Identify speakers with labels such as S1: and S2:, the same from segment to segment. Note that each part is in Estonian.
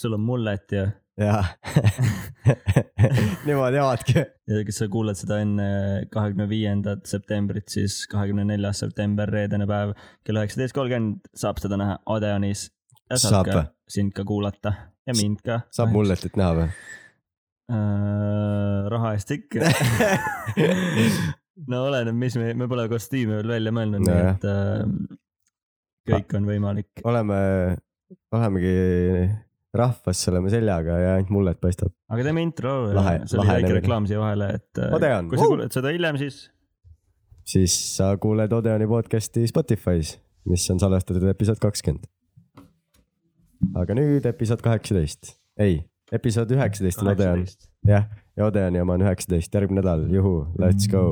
S1: sul on mullet ja ,
S2: jaa . Nemad jäävadki .
S1: ja kas sa kuulad seda enne kahekümne viiendat septembrit , siis kahekümne neljas september , reedene päev kell üheksateist kolmkümmend saab seda näha Odeonis .
S2: Saab
S1: saab
S2: või?
S1: sind ka kuulata ja mind ka .
S2: saab . mulletit näha või ?
S1: Äh, raha eest ikka . no oleneb , mis me , me pole kostüüme veel välja mõelnud , nii
S2: Nojah.
S1: et äh, kõik on võimalik .
S2: oleme , olemegi rahvas , oleme seljaga ja ainult mullet paistab .
S1: aga teeme intro ,
S2: Lahe-
S1: see oli
S2: lahe
S1: väike
S2: nimega.
S1: reklaam siia vahele , et äh,
S2: Odeon, uh!
S1: kui sa
S2: vau!
S1: kuuled seda hiljem , siis
S2: siis sa kuuled Odeoni podcast'i Spotify's , mis on salvestatud episood kakskümmend . aga nüüd episood kaheksateist , ei , episood üheksateist on Odeon ,
S1: kaheksateist .
S2: jah , ja Odeoni oma on üheksateist , järgmine nädal , juhu , let's go .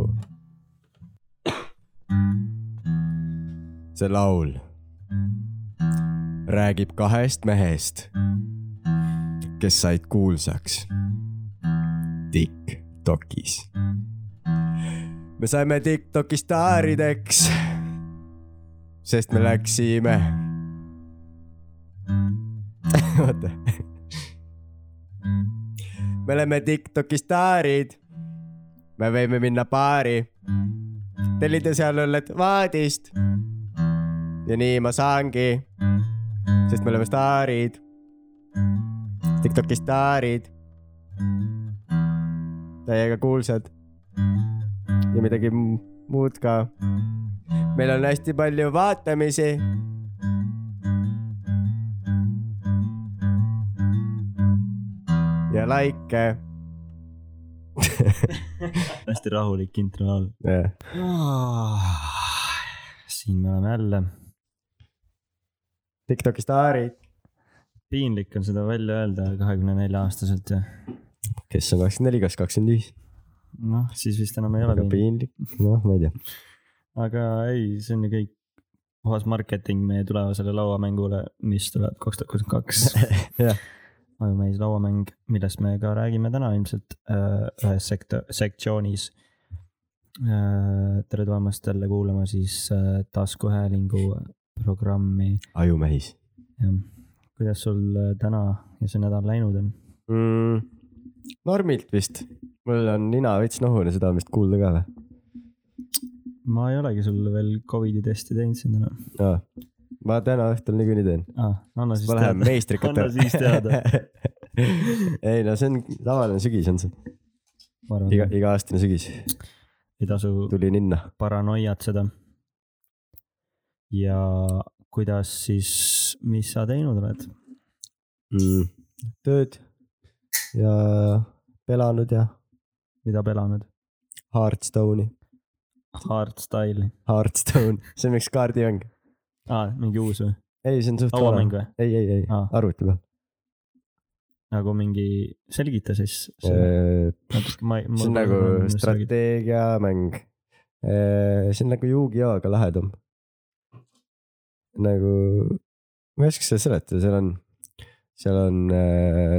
S2: see laul räägib kahest mehest , kes said kuulsaks Tiktokis . me saime Tiktoki staarideks , sest me läksime . oota . me oleme Tiktoki staarid . me võime minna baari , tellida seal õlled vaadist . ja nii ma saangi , sest me oleme staarid . Tiktoki staarid . täiega kuulsad . ja midagi m- muud ka . meil on hästi palju vaatamisi ja likee .
S1: hästi rahulik intro on . Ah, siin me oleme jälle ,
S2: Tiktoki staarid .
S1: piinlik on seda välja öelda kahekümne nelja aastaselt ja
S2: kes on kakskümmend neli , kas kakskümmend viis ?
S1: noh , siis vist enam ei ole
S2: väga
S1: piinlik ,
S2: piinlik , noh , ma ei tea .
S1: aga ei , see on ju kõik puhas marketing meie tulevasele lauamängule , mis tuleb kaks tuhat kakskümmend kaks
S2: Jah. .
S1: ajumäis lauamäng , millest me ka räägime täna ilmselt äh, ühes sektor , sektsioonis . tere tulemast jälle kuulama siis äh, taskuhäälingu programmi ,
S2: ajumehis
S1: jah . kuidas sul äh, täna ja see nädal läinud on ?
S2: mm, . normilt vist , mul on nina veits nohune , seda on vist kuulda ka või
S1: ma ei olegi sulle veel Covidi testi teinud siin täna
S2: no. ? ma täna õhtul niikuinii teen ,
S1: ah, . anna siis
S2: ma lähen
S1: teada .
S2: meistrikatele .
S1: Anna siis teada.
S2: ei no see on tavaline sügis on see ,
S1: ma arvan
S2: iga
S1: Iga... ,
S2: iga-aastane sügis ,
S1: ei tasu
S2: tuli ninna .
S1: paranoiatseda . ja kuidas siis , mis sa teinud oled ?
S2: mm. . tööd ja pelanud ja
S1: mida pelanud ?
S2: Hearthstone'i ,
S1: Hardstyle'i
S2: Hearthstone , see on üks kaardimäng .
S1: ah, , mingi uus või ?
S2: ei , see on suht
S1: lauamäng või ?
S2: ei , ei , ei
S1: Aa.
S2: ah. , arvuti peal .
S1: nagu mingi , selgita siis . see
S2: see
S1: Äh, on
S2: on nagu . strateegiamäng . see on nagu Yugi-Oga lahedam . nagu , ma ei oska seda seletada , seal on , seal on ,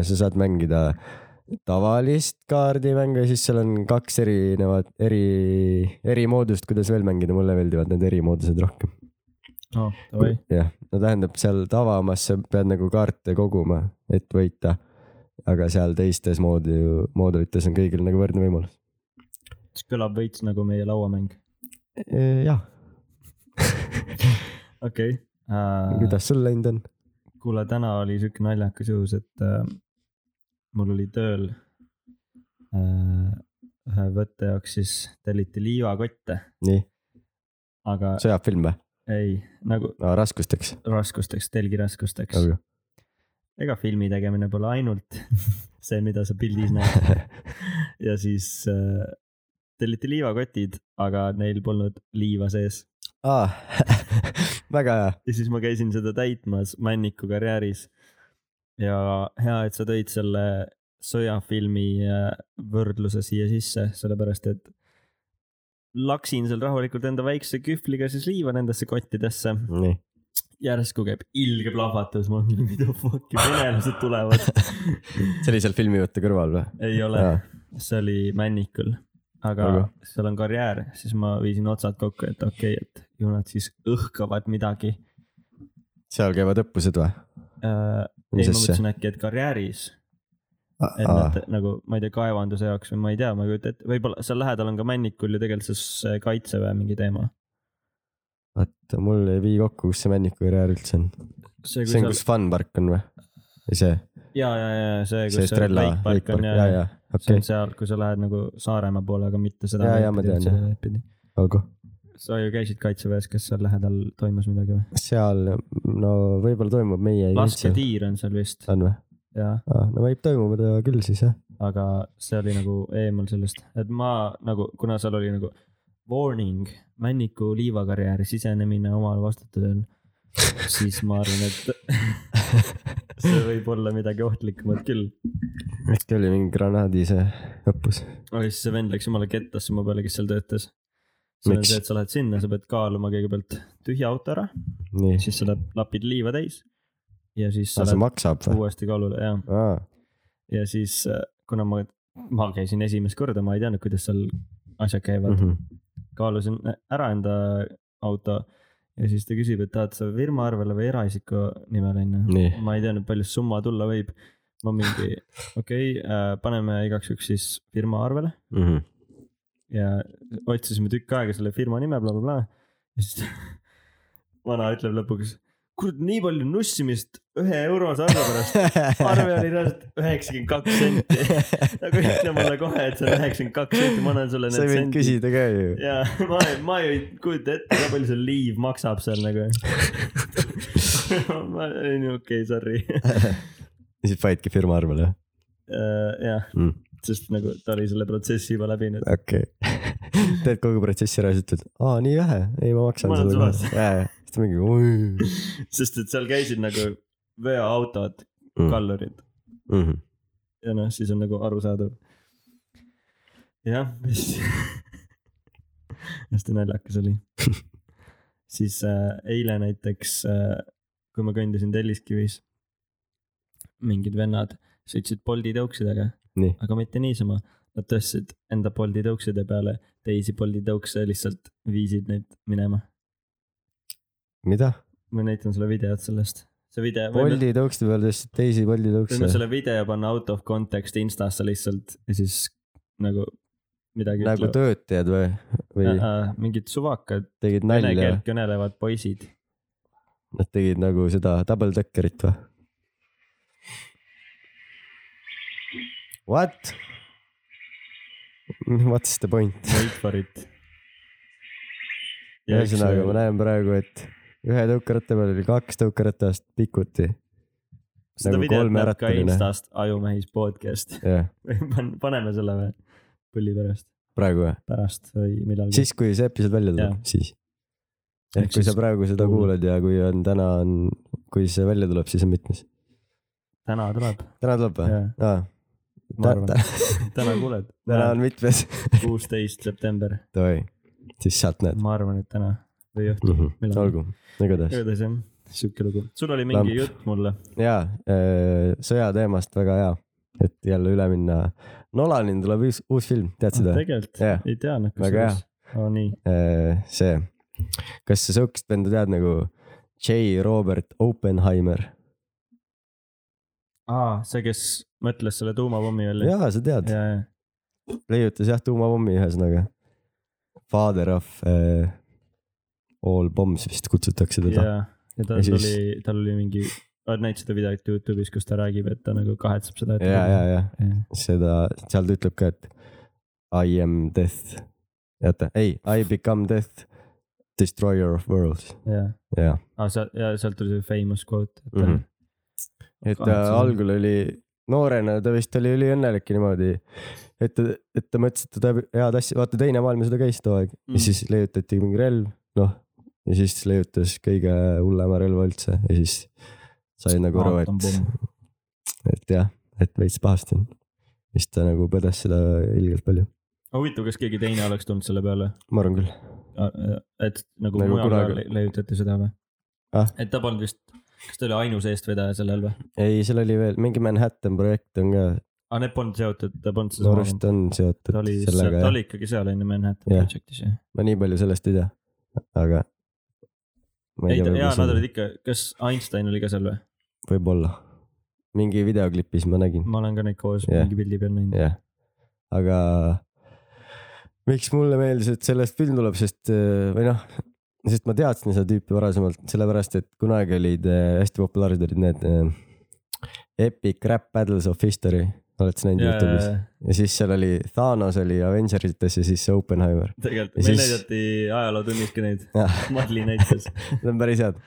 S2: sa saad mängida tavalist kaardimängu ja siis seal on kaks erinevat , eri , eri moodust , kuidas veel mängida , mulle meeldivad need eri moodused rohkem .
S1: oh, davai ,
S2: jah , no tähendab seal tavamas sa pead nagu kaarte koguma , et võita . aga seal teistes moodi , moodulites on kõigil nagu võrdne võimalus .
S1: see kõlab veits nagu meie lauamäng .
S2: Äh, jah ,
S1: okei okay. .
S2: kuidas sul läinud on ?
S1: kuule , täna oli sihuke naljakas juhus , et äh, mul oli tööl äh, ühe võtte jaoks siis telliti liivakotte ,
S2: nii ,
S1: aga
S2: sõjafilm või ?
S1: ei , nagu
S2: no raskusteks . nagu.
S1: raskusteks , telgiraskusteks .
S2: okei ,
S1: ega filmi tegemine pole ainult see , mida sa pildis näed . ja siis äh, telliti liivakotid , aga neil polnud liiva sees .
S2: aa , väga hea ,
S1: ja siis ma käisin seda täitmas Männiku karjääris . ja hea , et sa tõid selle sõjafilmi äh, võrdluse siia sisse , sellepärast et laksin seal rahulikult enda väikse kühvliga siis liiva nendesse kottidesse .
S2: nii .
S1: järsku käib ilge plahvatus , ma mõtlen , mida fuck'i venelased tulevad .
S2: see oli seal filmivõtte kõrval või ?
S1: ei ole , see oli Männikul , aga
S2: Aga?
S1: seal on karjäär , siis ma viisin otsad kokku , et okei okay, , et ju nad siis õhkavad midagi
S2: seal käivad õppused või ?
S1: Äh, ei , ma mõtlesin äkki , et karjääris , et
S2: asja ?
S1: nad nagu , ma ei tea , kaevanduse jaoks või ma ei tea , ma ei kujuta ette , võib-olla seal lähedal on ka Männikul ju tegelikult see kaitseväe mingi teema .
S2: oota , mul ei vii kokku , kus see Männiku karjäär üldse on .
S1: see ,
S2: see on , kus funpark on või ? ei see ,
S1: ja , ja , ja see ,
S2: see
S1: kus see
S2: Estrella
S1: Lakepark
S2: Lakepark ,
S1: on ja ,
S2: ja ,
S1: ja
S2: ja ,
S1: see
S2: okei
S1: on , seal , kui sa lähed nagu Saaremaa poole , aga mitte seda .
S2: Jaa, jaa, ma tean, jah. olgu .
S1: sa ju käisid kaitseväes , kas seal lähedal toimus midagi või ?
S2: seal , no võib-olla toimub meie . on
S1: lasketiir on seal vist ,
S2: või ?
S1: jaa ,
S2: no võib toimuda küll siis jah .
S1: aga see oli nagu eemal sellest , et ma nagu , kuna seal oli nagu warning , Männiku liivakarjääri sisenemine omal vastutusel , siis ma arvan , et see võib olla midagi ohtlikumat küll .
S2: äkki oli mingi granaadi see õppus ?
S1: aga siis see vend läks jumala kettasse mu peale , kes seal töötas . sul on
S2: Miks?
S1: see , et sa lähed sinna , sa pead kaaluma kõigepealt tühja auto ära ,
S2: nii ,
S1: siis sa lähed- lapid liiva täis ja siis sa
S2: see
S1: lähed
S2: maksab või ?
S1: uuesti kaalule , jah .
S2: aa ,
S1: ja siis , kuna ma , ma käisin esimest korda , ma ei teadnud , kuidas seal asjad käivad mm , -hmm. kaalusin ära enda auto ja siis ta küsib , et tahad sa firma arvele või eraisiku nimel onju .
S2: nii ,
S1: ma ei teadnud , palju see summa tulla võib . ma mingi , okei okay, , paneme igaks juhuks siis firma arvele ja otsisime tükk aega selle firma nime bla, , blablabla . ja siis vana ütleb lõpuks , kurat , nii palju nussimist ühe eurose arve pärast . arve oli reaalselt üheksakümmend kaks senti . nagu ütle mulle kohe , et see on üheksakümmend kaks senti , ma annan sulle
S2: sa
S1: need
S2: võid
S1: sendid .
S2: küsida ka ju .
S1: ja ma , ma ju ei kujuta ette , kui palju see liiv maksab seal nagu . ma olin okei okay, , sorry .
S2: ja siis panidki firma arvele ,
S1: Äh, jah ,
S2: jah ?
S1: sest nagu ta oli selle protsessi juba läbinud .
S2: okei okay. . teed kogu protsessi ära , siis ütled , aa nii vähe , ei ma maksan
S1: Ma olen
S2: seda
S1: sulas.
S2: kohe . siis ta mingi oi .
S1: sest et seal käisid nagu veoautod ,
S2: Mm.
S1: kallurid ja noh , siis on nagu arusaadav . jah , mis hästi naljakas oli . siis äh, eile näiteks äh, , kui ma kõndisin Telliskivis , mingid vennad sõitsid Bolti tõuksidega ,
S2: nii ,
S1: aga mitte niisama . Nad tõstsid enda Bolti tõukside peale teisi Bolti tõukse , lihtsalt viisid neid minema .
S2: mida ?
S1: ma näitan sulle videot sellest . see video .
S2: Boldi tõukste peal tõstsid teisi Boldi
S1: võime
S2: tõukse .
S1: selle video panna out of context Instasse lihtsalt ja siis nagu midagi
S2: nagu
S1: ütlevad.
S2: töötajad või , või
S1: Äh, äh, mingid suvakad
S2: tegid
S1: vene
S2: nalja
S1: keelt ? kõnelevad poisid .
S2: Nad tegid nagu seda double decker'it või ? What ? What's the point ?
S1: Wait for it .
S2: ühesõnaga , ma näen praegu , et ühe tõukeratta peal oli kaks tõukeratast pikuti .
S1: seda
S2: nagu
S1: videot näeb ka
S2: kolmerattuline.
S1: Instast Ajumehis podcast .
S2: jah ,
S1: paneme selle või ? põlli pärast ,
S2: praegu või ?
S1: pärast või millalgi .
S2: siis , kui see episood välja tuleb , siis . ehk
S1: Ehk
S2: kui
S1: siis
S2: sa praegu seda
S1: kuulad.
S2: kuulad ja kui on täna on , kui see välja tuleb , siis on mitmes ?
S1: täna tuleb ,
S2: täna tuleb või
S1: Jaa. ?
S2: aa ,
S1: ma
S2: Ta-
S1: arvan . täna kuuled .
S2: täna on mitmes ?
S1: kuusteist september ,
S2: oi , siis sealt näed .
S1: ma arvan , et täna või õhtul . Millal?
S2: olgu , igatahes .
S1: igatahes jah , sihuke lugu . sul oli mingi
S2: Lamp.
S1: jutt mulle .
S2: jaa , sõjateemast väga hea , et jälle üle minna . Nolanil tuleb uus , uus film , tead seda ?
S1: tegelikult
S2: Jah.
S1: ei teadnud ,
S2: Väga
S1: kusjuures . aa nii ,
S2: Äh, see , kas sa sihukest venda tead nagu J Robert Oppenheimer ?
S1: aa see , kes mõtles selle tuumapommi välja .
S2: jaa , sa tead ,
S1: ja , ja ,
S2: leiutas jah tuumapommi ühesõnaga . Father of äh, all bombs vist kutsutakse teda
S1: ja , ja tal
S2: Ja siis-
S1: oli , tal oli mingi , oled näinud seda videot Youtube'is , kus ta räägib , et ta nagu kahetseb seda .
S2: yeah. . ja , ja , ja
S1: ja .
S2: seda , seal ta ütleb ka , et I am death . oota , ei , I become death , destroyer of worlds ,
S1: ja ,
S2: jah .
S1: aa seal , ja sealt tuli see famous quote , et
S2: Mhm.
S1: mm .
S2: et ta algul oli noorena , ta vist oli üliõnnelik niimoodi , et ta , et ta mõtles , et ta teeb head asja , vaata teine maailmasõda käis too aeg mm.
S1: Mm.
S2: ja siis leiutati mingi relv , noh . ja siis leiutas kõige hullema relva üldse ja siis sai nagu aru , et , et jah , et veits pahasti on . siis ta nagu põdes seda ilgelt palju ,
S1: huvitav , kas keegi teine oleks tulnud selle peale ,
S2: ma arvan küll .
S1: et nagu,
S2: Nagu
S1: nagu mujal
S2: kunagi-
S1: kunagi... leiutati seda või
S2: Ah. ?
S1: et ta polnud vist , kas ta oli ainus eestvedaja sellel või ?
S2: ei , seal oli veel mingi Manhattan projekt on ka ,
S1: aa , need polnud seotud , ta polnud
S2: minu
S1: seda .
S2: arust on seotud
S1: ta oli ,
S2: sellega
S1: ta
S2: jah ,
S1: oli ikkagi seal enne Manhattan
S2: Jah.
S1: Projectis jah .
S2: ma nii palju sellest ei tea , aga .
S1: ei , jaa , nad olid ikka , kas Einstein oli ka seal või ?
S2: võib-olla mingi videoklipis ma nägin ,
S1: ma olen ka neid koos
S2: Jah.
S1: yeah. mingi pildi peal näinud yeah. .
S2: jah . aga miks mulle meeldis , et sellest film tuleb , sest äh, või noh , sest ma teadsin seda tüüpi varasemalt , sellepärast et kunagi olid äh, hästi populaarsed olid need äh, Epic Rap Battles of History , oled sa näinud yeah. Youtube'is ? ja siis seal oli Thanos oli Avengersites ja siis see Oppenheimer .
S1: tegelikult
S2: Ja
S1: meil
S2: siis-
S1: näidati ajalootunniski neid ,
S2: Jah.
S1: Madli näitas .
S2: Need on päris head .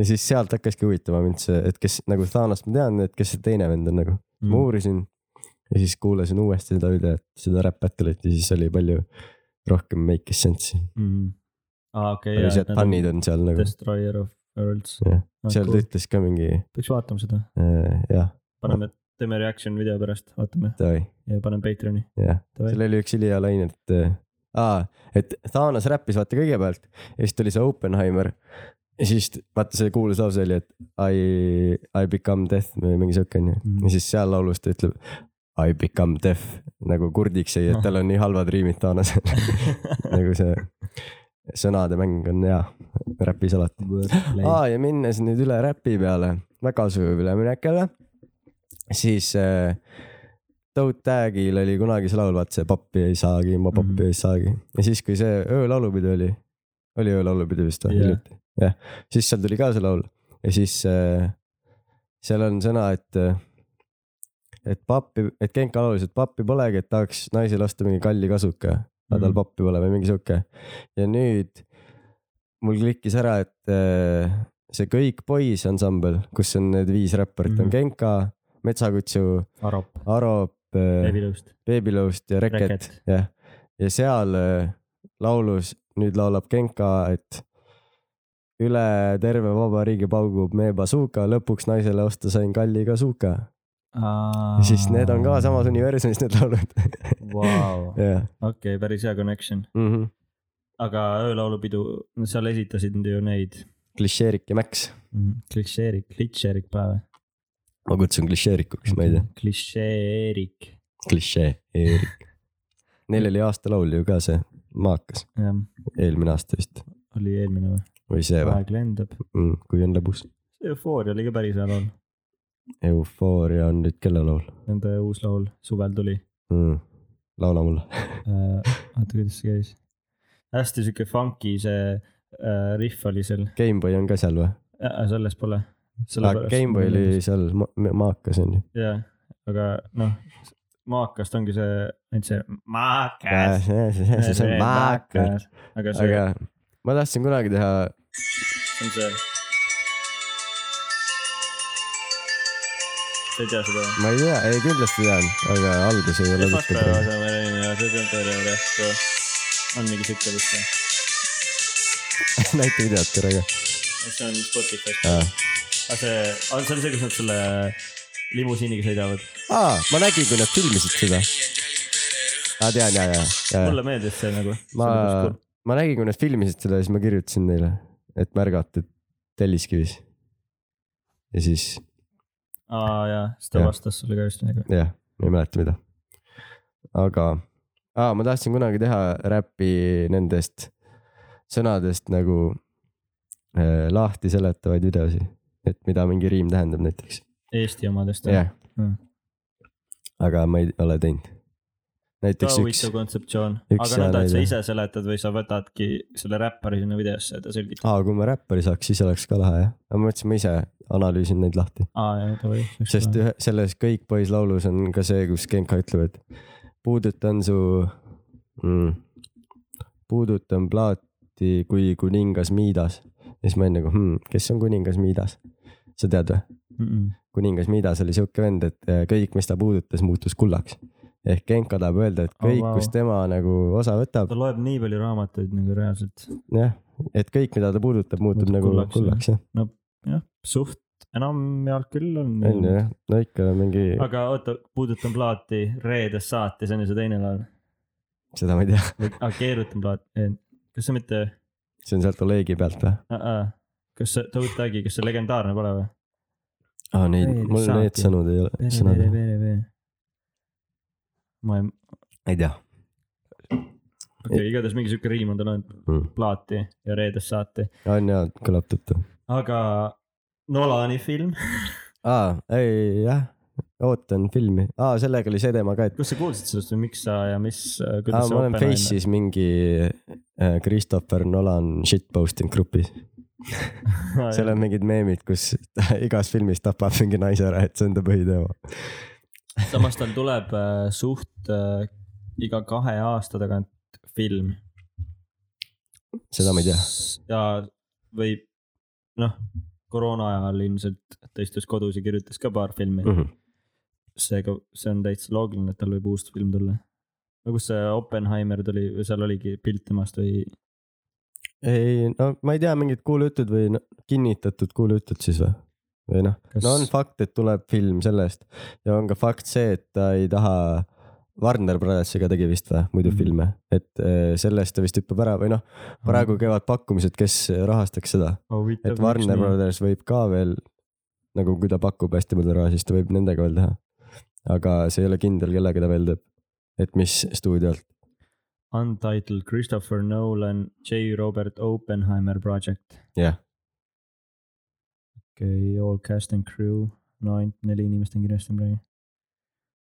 S2: ja siis sealt hakkaski huvitama mind see , et kes nagu Thanost ma tean , et kes see teine vend on nagu .
S1: Mm.
S2: ma uurisin ja siis kuulasin uuesti seda videot , seda Rap Battle'it ja siis oli palju rohkem make'is sense'i .
S1: aa , Mhm. Ah, okei .
S2: päris head punnid on seal nagu ,
S1: Destroyer of Worlds .
S2: Jah, seal ta ütles ka mingi
S1: peaks vaatama seda ,
S2: äh, jah ,
S1: paneme , teeme reaction video pärast , vaatame
S2: davai ,
S1: ja paneme Patreon'i .
S2: jah .
S1: Davai.
S2: seal oli üks ülihea laine , et äh, aa , et Thanos räppis vaata kõigepealt ja siis tuli see Oppenheimer . ja siis t- vaata see kuulus lause oli , et I , I become death või mingi siuke onju
S1: Mhm.
S2: ja siis seal laulus ta ütleb . I become deaf nagu kurdiks jäi , et tal on nii halvad riimid Thanosel . nagu see sõnade mäng on hea , räpis alati . aa , ja minnes nüüd üle räpi peale , väga sujuv üleminek jälle . siis äh, Toad Tag'il oli kunagi see laul , vaata see pappi ei saagi , ma pappi
S1: Mhm.
S2: mm. ei saagi . ja siis , kui see öölaulupidu oli , oli öölaulupidu vist või
S1: Jah.
S2: hiljuti ? jah , siis seal tuli ka see laul ja siis äh, seal on sõna , et , et pappi , et Genka laulis , et pappi polegi , et tahaks naisele osta mingi kalli kasuka , aga tal
S1: Mhm.
S2: pappi pole või mingi sihuke . ja nüüd mul klikkis ära , et äh, see Kõik Boys ansambel , kus on need viis räpparit mm , -hmm.
S1: Mhm.
S2: on Genka , Metsakutsu ,
S1: Arop ,
S2: Arop ,
S1: Levilõust .
S2: Babylost ja Reket ,
S1: Reket.
S2: jah . ja seal äh, laulus , nüüd laulab Genka , et üle terve vabariigi paugub me bazooka , lõpuks naisele osta sain kalli kasuuka . siis need on ka samas . universumis need laulud .
S1: Vau ,
S2: jah , Mhm.
S1: okei , päris hea connection , aga öölaulupidu , no seal esitasid ju neid
S2: klišeerik ja Max ,
S1: Mhm, klišeerik , klitšeerik päev .
S2: ma kutsun klišeerikuks , ma ei tea ,.
S1: klišeerik ,
S2: klišeerik . Neil oli aastalaul ju ka see , maakas ,
S1: jah ,
S2: eelmine aasta vist
S1: oli eelmine või ?
S2: või see või ,
S1: aeg lendab .
S2: kui on lõbus .
S1: eufooria oli ka päris hea laul ,
S2: eufooria on nüüd kelle laul
S1: nende uus laul suvel tuli .
S2: mm. ? laula mulle .
S1: Äh, oota , kuidas see käis ? hästi sihuke funky see äh, riff oli seal ,
S2: Gameboy on ka seal või ?
S1: selles pole .
S2: Gameboy oli . seal ma ma- maakas onju .
S1: jaa , aga noh , maakast ongi see , ainult see maakas .
S2: see on maakas ..
S1: aga see
S2: aga ma tahtsin kunagi teha ,
S1: on see . sa ei tea seda või ?
S2: ma ei tea , ei kindlasti tean , aga algus ei ole
S1: esmaspäeva
S2: lõpetatud .
S1: asemel oli ja see on tõesti , on mingi sihuke vist või ?
S2: näita videot korraga .
S1: see on Spotify's . aga see , see on see , kus nad selle limusiiniga sõidavad .
S2: aa , ma nägin , kui nad filmisid seda . aa , tean ja , ja , ja .
S1: mulle meeldis see nagu .
S2: ma , ma nägin , kui nad filmisid seda ja siis ma kirjutasin neile , et märgata Telliskivis . ja siis
S1: aa jaa , siis ta
S2: Jah.
S1: vastas sulle ka just midagi .
S2: jah , ma ei mäleta , mida . aga ah, , ma tahtsin kunagi teha räppi nendest sõnadest nagu äh, lahti seletavaid videosid , et mida mingi riim tähendab näiteks .
S1: Eesti omadest .
S2: jah
S1: Mm. .
S2: aga ma ei ole teinud .
S1: ka
S2: näiteks üks
S1: huvitav , kontseptsioon ,
S2: üks
S1: aga
S2: hea
S1: nõnda , et sa
S2: näide.
S1: ise seletad või sa võtadki selle räppari sinna videosse , et ta selgitab .
S2: aa , kui ma räppari saaks , siis oleks ka lahe jah , aga ma mõtlesin , ma ise analüüsin neid lahti ,
S1: aa jaa , davai .
S2: sest ühe selles Kõik Boys laulus on ka see , kus Genka ütleb , et puudutan su mm, , puudutan plaati kui kuningas Miidas . ja siis ma olin nagu hmm, , kes on kuningas Miidas ? sa tead või ? kuningas Midas oli sihuke vend , et äh, kõik , mis ta puudutas , muutus kullaks . ehk Genka tahab öelda , et
S1: Oh,
S2: kõik
S1: wow.
S2: oh, , wow. kus tema nagu osa võtab ,
S1: ta loeb nii palju raamatuid nagu reaalselt ,
S2: jah , et kõik , mida ta puudutab , muutub
S1: Muutub
S2: nagu
S1: kullaks,
S2: kullaks, kullaks jah ,
S1: jah , suht enamjaolt küll on .
S2: on ju jah , no ikka mingi aga... ,
S1: aga oota , puudutan plaati reedest saati , see on ju see teine laul .
S2: seda ma ei tea ,
S1: aga keerutan plaati , kas see mitte ,
S2: see on sealt Olegi pealt või ?
S1: kas see Toad Tag'i , kas see legendaarne pole või ?
S2: aa , neid
S1: Reede ,
S2: mul need
S1: saati.
S2: sõnud ei ole ,
S1: pere ,
S2: sõnad
S1: pere , pere , pere . ma ei ,
S2: ei tea
S1: okei okay, , igatahes mingi sihuke riim on tal olnud ,
S2: mm. .
S1: plaati ja reedest saati ,
S2: on jaa , kõlab tuttav .
S1: aga Nolani film
S2: aa , ei jah , ootan filmi , aa sellega oli see teema ka , et
S1: kas sa kuulsid sellest või miks sa ja mis ,
S2: aa,
S1: kuidas
S2: ma olen Face'is mingi äh, Christopher Nolan shitposting grupis ,
S1: Ah,
S2: seal on mingid meemid , kus ta igas filmis tapab mingi naise ära , et see on ta põhiteema .
S1: samas tal tuleb äh, suht äh, iga kahe aasta tagant film .
S2: seda ma ei tea ..
S1: ja või noh , koroona ajal ilmselt ta istus kodus ja kirjutas ka paar filmi mm .
S2: Mm
S1: -hmm.
S2: -hmm.
S1: seega see on täitsa loogiline , et tal võib uus film tulla . no kus see Oppenheimer tuli , seal oligi pilt temast või ?
S2: ei , no ma ei tea , mingid kuulujutud või no, kinnitatud kuulujutud siis või ? või noh ,
S1: Kas-
S2: no on fakt , et tuleb film sellest ja on ka fakt see , et ta ei taha , Warner Brothersiga tegi vist või , muidu
S1: Mhm.
S2: filme , et eh, sellest ta vist hüppab ära või noh , praegu käivad pakkumised , kes rahastaks seda , et Warner . Brothers võib ka veel nagu , kui ta pakub hästi palju raha , siis ta võib nendega veel teha . aga see ei ole kindel , kellega ta veel teeb , et mis stuudiolt .
S1: Untitled Christopher Nolan J Robert Oppenheimer project .
S2: Jah. .
S1: okei okay, , all cast and crew , no ainult neli inimest on kirjas siin praegu .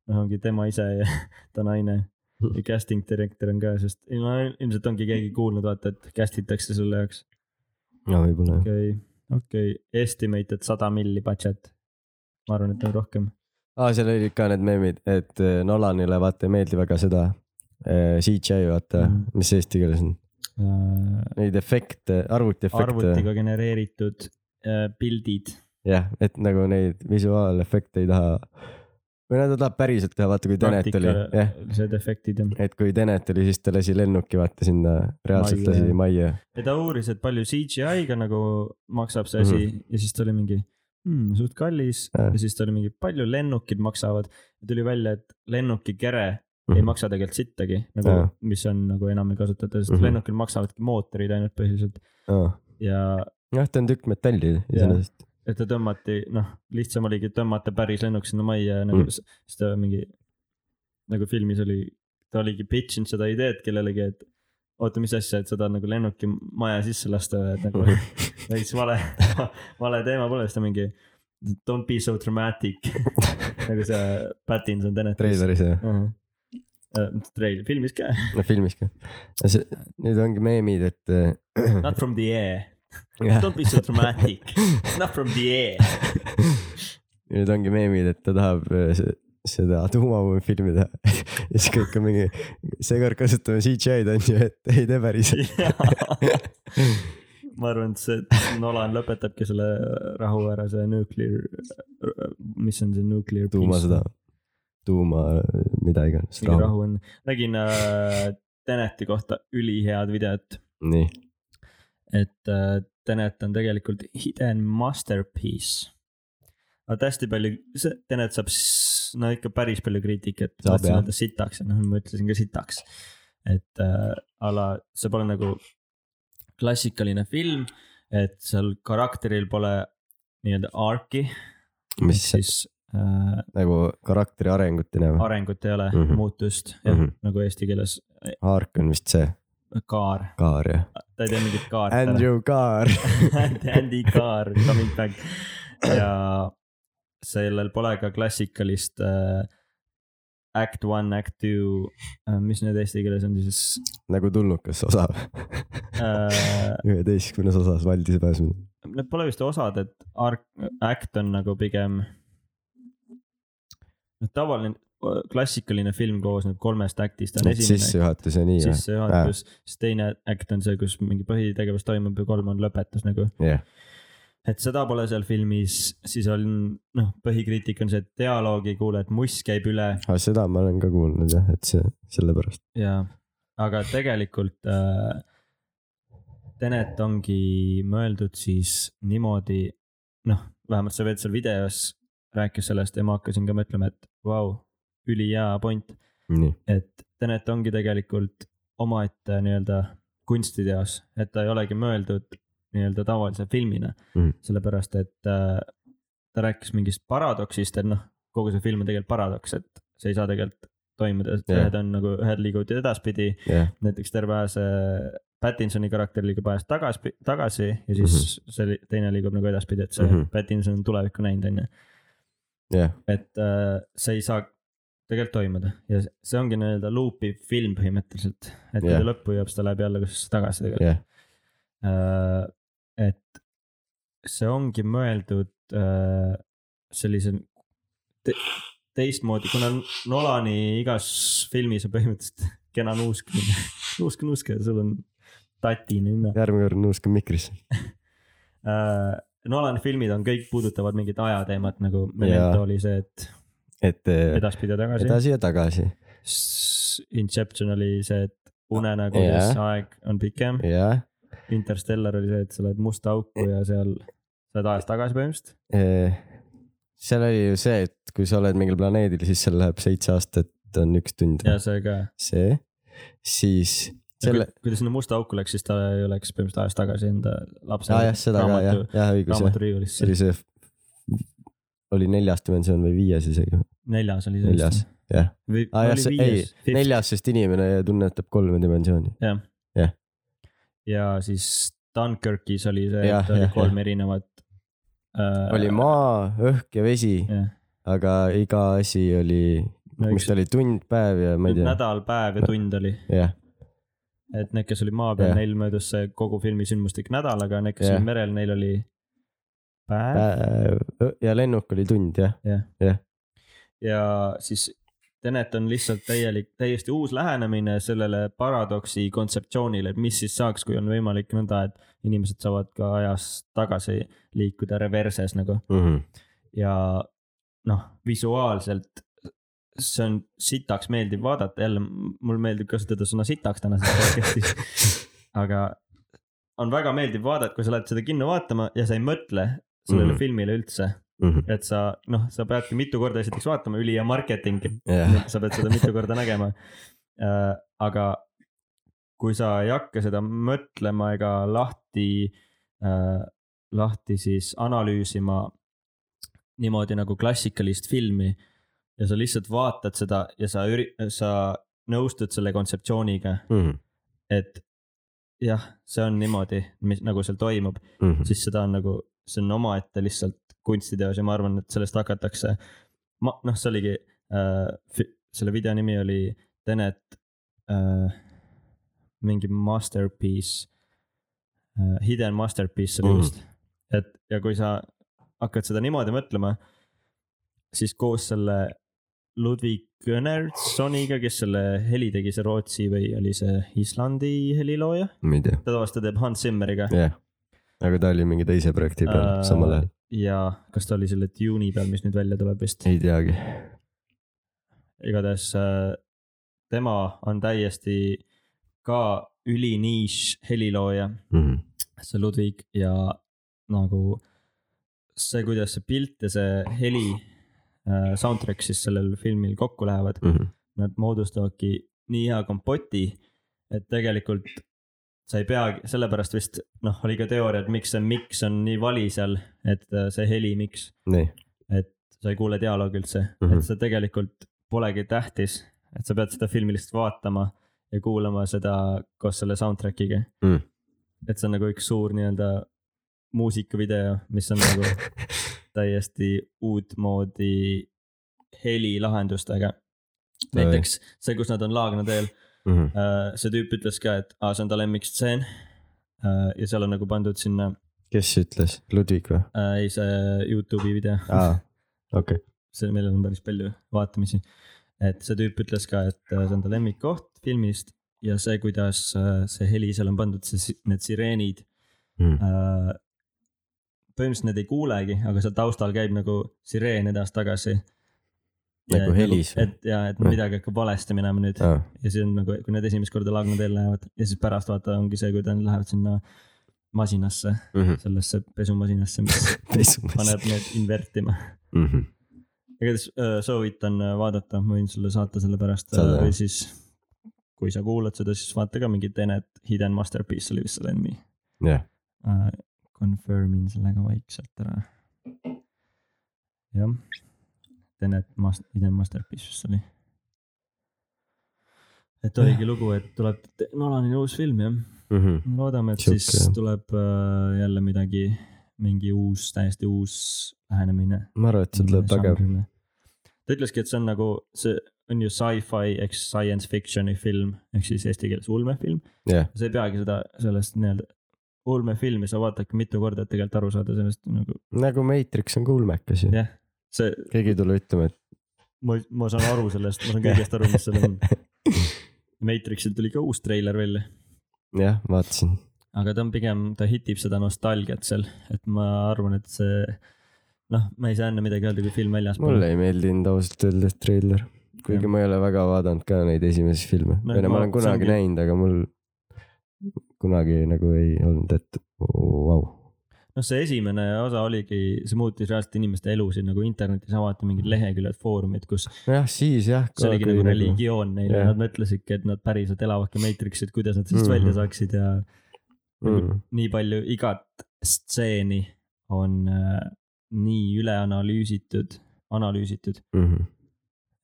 S1: noh , ongi tema ise ja ta naine ja casting director on ka , sest ei, no, ilmselt ongi keegi kuulnud , vaata , et cast itakse selle jaoks .
S2: no võib-olla jah .
S1: okei okay, , okei okay. , estimated sada milli budget . ma arvan , et on rohkem .
S2: aa , seal olid ka need meemid , et eh, Nolanile vaata ei meeldi väga seda eh, CGI vaata mm ,
S1: Mhm.
S2: -hmm. mis eesti keeles on , neid efekte , arvutiefekte ,
S1: arvutiga genereeritud äh, pildid
S2: jah , et nagu neid visuaalefekte ei taha . või no ta tahab päriselt teha , vaata kui Tenet oli , jah ,
S1: praktikalised efektid ja .
S2: et kui Tenet oli , siis ta lasi lennuki vaata sinna , reaalselt
S1: Majja.
S2: lasi majja .
S1: ja ta uuris , et palju CGI-ga nagu maksab see asi mm -hmm. ja siis ta oli mingi hmm, suht kallis ja.
S2: Mhm. Jah.
S1: ja siis ta oli mingi palju lennukid maksavad . tuli välja , et lennuki kere mm -hmm. ei
S2: Mhm.
S1: maksa tegelikult sittagi nagu
S2: Jah. ,
S1: mis on nagu enam ei kasutata , sest mm
S2: Mhm.
S1: -hmm. lennukil maksavadki mootorid ainult põhiliselt
S2: jah ,
S1: ja
S2: ta on tükk metalli iseenesest .
S1: et ta tõmmati , noh , lihtsam oligi tõmmata päris lennuk sinna majja ja nagu
S2: Mhm.
S1: mm. siis ta mingi nagu filmis oli , ta oligi pitch inud seda ideed kellelegi , et oota , mis asja , et sa tahad nagu lennuki maja sisse lasta või , et nagu täitsa vale , vale teema pole , siis ta mingi don't be so dramatic nagu see Pattinson Tenet .
S2: treileris jah ,
S1: uh . -huh. Treil , filmis ka ,
S2: no filmis ka . nüüd ongi meemid , et eh,
S1: not from the air ,
S2: jah.
S1: don't be so dramatic , not from the air .
S2: ja nüüd ongi meemid , et ta tahab äh, se- seda tuumapommi filmi teha . ja siis kõik on mingi , seekord kasutame CGI-d on ju , et ei tee päriselt .
S1: ma arvan , et see Nolan lõpetabki selle rahu ära , see nuclear , mis on see nuclear .
S2: tuumasõda , tuuma äh, mida iganes ,
S1: mingi
S2: rahu ,
S1: rahu on , nägin äh, Teneti kohta ülihead videot ,
S2: nii .
S1: et äh, Tenet on tegelikult hidden masterpiece . vaata hästi palju , see Tenet saab s- no ikka päris palju kriitikat ,
S2: Saab,
S1: tahtsin
S2: jah.
S1: öelda sitaks ja noh , ma ütlesin ka sitaks . et äh, a la see pole nagu klassikaline film , et seal karakteril pole nii-öelda arki ,
S2: mis siis
S1: siis äh,
S2: nagu karakteri arengut ei näe ,
S1: arengut ei ole mm ,
S2: Mhm.
S1: -hmm. muutust , jah mm ,
S2: Mhm.
S1: -hmm. nagu eesti keeles
S2: Haark on vist see ,
S1: kaar ,
S2: Kaar jah ,
S1: ta ei tee mingit kaart ära.
S2: Andrew Kaar .
S1: And- Andy Carr coming back ja sellel pole ka klassikalist äh, act one , act two äh, , mis need eesti keeles on siis
S2: nagu tulnukas osa ,
S1: äh, .
S2: üheteistkümnes osas Valdise pääsmine .
S1: Need pole vist osad , et arc , act on nagu pigem . noh , tavaline äh, klassikaline film koosneb kolmest act'ist , on esimene
S2: Noh, sissejuhatus ja nii või ?
S1: sissejuhatus , siis teine act on see , kus mingi põhitegevus toimub ja kolm on lõpetus nagu .
S2: jah ,
S1: et seda pole seal filmis , siis on noh , põhikriitik on see , et dialoogi ei kuule , et muss käib üle
S2: seda ma olen ka kuulnud jah , et see , sellepärast .
S1: ja , aga tegelikult äh, Tenet ongi mõeldud siis niimoodi , noh , vähemalt see veits seal videos rääkis sellest ja ma hakkasin ka mõtlema , et vau wow, , ülihea point ,
S2: nii ,
S1: et Tenet ongi tegelikult omaette nii-öelda kunstiteos , et ta ei olegi mõeldud nii-öelda tavalise filmina
S2: Mhm.
S1: mm. , sellepärast et äh, ta rääkis mingist paradoksist , et noh , kogu see film on tegelikult paradoks , et see ei saa tegelikult toimuda , et
S2: Jah.
S1: ühed on nagu , ühed liiguvad edaspidi ,
S2: jah .
S1: näiteks terve ajas äh, Pattinsoni karakter liigub ajas tagasi , tagasi ja siis mm -hmm. see li- teine liigub nagu edaspidi , et see mm
S2: Mhm.
S1: -hmm. Pattinson on tulevikku näinud , on ju .
S2: jah ,
S1: et äh, see ei saa tegelikult toimuda ja see ongi nii-öelda loop'i film põhimõtteliselt , et kui
S2: Jah.
S1: ta lõppu jõuab , siis ta läheb jälle kuskile tagasi tegelikult
S2: jah ,
S1: yeah. . et see ongi mõeldud äh, sellise te teistmoodi , kuna Nolani igas filmis on põhimõtteliselt kena nuusk , nuusk , nuusk ja sul on tati nina .
S2: järgmine kord nuuskan mikrisse .
S1: äh, . Nolan filmid on kõik puudutavad mingit ajateemat nagu Memento oli see , et
S2: et eh,
S1: edaspidi ja tagasi Edas .
S2: edasi ja tagasi
S1: Inception oli see , et unenägudes
S2: Jah.
S1: yeah. aeg on pikem .
S2: Ah, ja
S1: Interstellar oli see , et sa lähed musta auku ja seal sa oled ajas tagasi põhimõtteliselt .
S2: eh, seal oli ju see , et kui sa oled mingil planeedil , siis seal läheb seitse aastat , on üks tund .
S1: ja see ka .
S2: see , siis selle ,
S1: kui ta sinna musta auku läks , siis ta ju läks põhimõtteliselt ajas tagasi enda lapse
S2: aa Ah, jah , seda ka jah , jah õigus jah , see
S1: raamaturiiulisse .
S2: oli see , oli neljas dimensioon või viies isegi ,
S1: neljas oli see
S2: neljas , jah .
S1: või
S2: aa jah ,
S1: oli
S2: see ei
S1: viies ,,
S2: neljas , sest inimene tunnetab kolme dimensiooni .
S1: ja siis Dunkirkis oli see ,
S2: Jah,
S1: et oli
S2: jah,
S1: kolm erinevat äh, .
S2: oli maa , õhk ja vesi ,
S1: jah.
S2: aga iga asi oli ,
S1: No
S2: mis
S1: üks-
S2: ta oli , tund , päev ja ma ei tea ,
S1: nädal , päev ja tund oli ,
S2: jah ,
S1: et need , kes olid maa peal ,
S2: Jah.
S1: neil möödus see kogu filmi sündmustik nädalaga , need , kes
S2: Jah.
S1: olid merel , neil oli päev
S2: päev õ- ja lennuk oli tund jah ,
S1: ja siis Tenet on lihtsalt täielik , täiesti uus lähenemine sellele paradoksi kontseptsioonile , et mis siis saaks , kui on võimalik nõnda , et inimesed saavad ka ajas tagasi liikuda reverses nagu
S2: Mhm.
S1: ja noh , visuaalselt see on sitaks meeldiv vaadata , jälle m- mul meeldib kasutada sõna sitaks tänases podcast'is , aga on väga meeldiv vaadata , kui sa lähed seda kinno vaatama ja sa ei mõtle sellele
S2: Mhm.
S1: mm. filmile üldse , et sa noh , sa peadki mitu korda esiteks vaatama , ülihea marketing ,
S2: jah ,
S1: sa pead seda mitu korda nägema . aga kui sa ei hakka seda mõtlema ega lahti , lahti siis analüüsima niimoodi nagu klassikalist filmi ja sa lihtsalt vaatad seda ja sa üri- , sa nõustud selle kontseptsiooniga ,
S2: Mhm.
S1: et jah , see on niimoodi , mis nagu seal toimub ,
S2: Mhm.
S1: siis seda on nagu , see on omaette lihtsalt kunstiteos ja ma arvan , et sellest hakatakse . ma noh , see oligi äh, , selle video nimi oli Tenet äh, , mingi masterpiece äh, , hidden masterpiece oli
S2: Mhm.
S1: vist mm. . et ja kui sa hakkad seda niimoodi mõtlema , siis koos selle Ludwig Gönnarssoniga , kes selle heli tegi , see Rootsi või oli see Islandi helilooja ,
S2: ma ei tea ,
S1: ta tavaliselt teeb Hans Zimmeriga .
S2: jah . aga ta oli mingi teise projekti peal
S1: Äh,
S2: samal ajal ,
S1: ja kas ta oli selle Dune'i peal , mis nüüd välja tuleb vist ,
S2: ei teagi ,
S1: igatahes äh, tema on täiesti ka ülinišš helilooja ,
S2: Mhm.
S1: see Ludwig ja nagu see , kuidas see pilt ja see heli äh, soundtrack siis sellel filmil kokku lähevad ,
S2: Mm. Mhm.
S1: nad moodustavadki nii hea kompoti , et tegelikult sa ei peagi , sellepärast vist noh , oli ka teooria , et miks see miks on nii vali seal , et äh, see heli miks
S2: nii ,
S1: sa ei kuule dialoogi üldse mm ,
S2: Mhm.
S1: -hmm. et see tegelikult polegi tähtis , et sa pead seda filmi lihtsalt vaatama ja kuulama seda koos selle soundtrack'iga
S2: Mm. .
S1: et see on nagu üks suur nii-öelda muusikavideo , mis on nagu täiesti uutmoodi helilahendustega .
S2: Oi.
S1: näiteks see , kus nad on Laagna teel ,
S2: Mhm.
S1: see tüüp ütles ka , et aa , see on ta lemmikstseen . ja seal on nagu pandud sinna ,
S2: kes ütles , Ludvig või ?
S1: ei see Youtube'i video .
S2: aa , okei ,
S1: see , millel on päris palju vaatamisi . et see tüüp ütles ka , et äh, see on ta lemmikkoht filmist ja see , kuidas äh, see heli seal on pandud , see , need sireenid
S2: Mhm.
S1: äh, . põhimõtteliselt need ei kuulegi , aga seal taustal käib nagu sireen edasi-tagasi .
S2: Nagu helis või?
S1: et ja , et midagi hakkab valesti minema nüüd
S2: aa ,
S1: ja siis on nagu , kui nad esimest korda Lagna teel lähevad ja siis pärast vaata ongi see , kui ta läheb sinna masinasse ,
S2: Mhm.
S1: sellesse pesumasinasse , mis
S2: teistsugune .
S1: paneb need invertima .
S2: Mhm.
S1: igatahes öö, soovitan öö, vaadata , ma võin sulle saata selle pärast
S2: Saada,
S1: öö, või
S2: jah.
S1: siis kui sa kuulad seda , siis vaata ka mingi Tenet Hidden Masterpiece oli vist selle nimi .
S2: jah ,
S1: Äh, Confirm in selle ka vaikselt ära . jah , Tenet mas- , Hidden Masterpiece vist oli . et oligi lugu , et tuleb Te-
S2: Mhm.
S1: Nolanil uus film jah , loodame , et siis
S2: Sihuke.
S1: tuleb öö, jälle midagi mingi uus , täiesti uus lähenemine .
S2: ma arvan , et see tuleb
S1: Mhm.
S2: tagev .
S1: ta ütleski , et see on nagu , see on ju sci-fi ehk science fiction'i film ehk siis eesti keeles ulmefilm .
S2: jah ,
S1: sa ei peagi seda , sellest nii-öelda ulmefilmi sa vaatadki mitu korda , et tegelikult aru saada sellest nagu
S2: nagu Matrix on kuulmekas ju .
S1: jah , see ,
S2: keegi ei tule ütlema , et
S1: ma , ma saan aru sellest , ma saan kõigest aru , mis seal on . Matrixil tuli ka uus treiler välja ,
S2: jah , vaatasin .
S1: aga ta on pigem , ta hitib seda nostalgiat seal , et ma arvan , et see noh , ma ei saa enne midagi öelda , kui film väljas pole .
S2: mulle ei meeldinud ausalt öeldes treiler . kuigi ma ei ole väga vaadanud ka neid esimesi filme .
S1: No
S2: või no
S1: Noh, ma-
S2: ma olen kunagi
S1: see ongi-
S2: näinud , aga mul kunagi nagu ei olnud , et vau .
S1: noh , see esimene osa oligi , see muutis reaalselt inimeste elusid nagu internetis avati mingid leheküljed , foorumid , kus
S2: jah , siis jah .
S1: see oligi nagu religioon neile
S2: Jah.
S1: yeah. , nad mõtlesidki , et nad päriselt elavadki Matrixit , kuidas nad sellest
S2: Mhm.
S1: mm -hmm. välja saaksid ja
S2: Mm,
S1: nagu nii palju igat stseeni on äh, nii üle analüüsitud , analüüsitud ,
S2: mhm.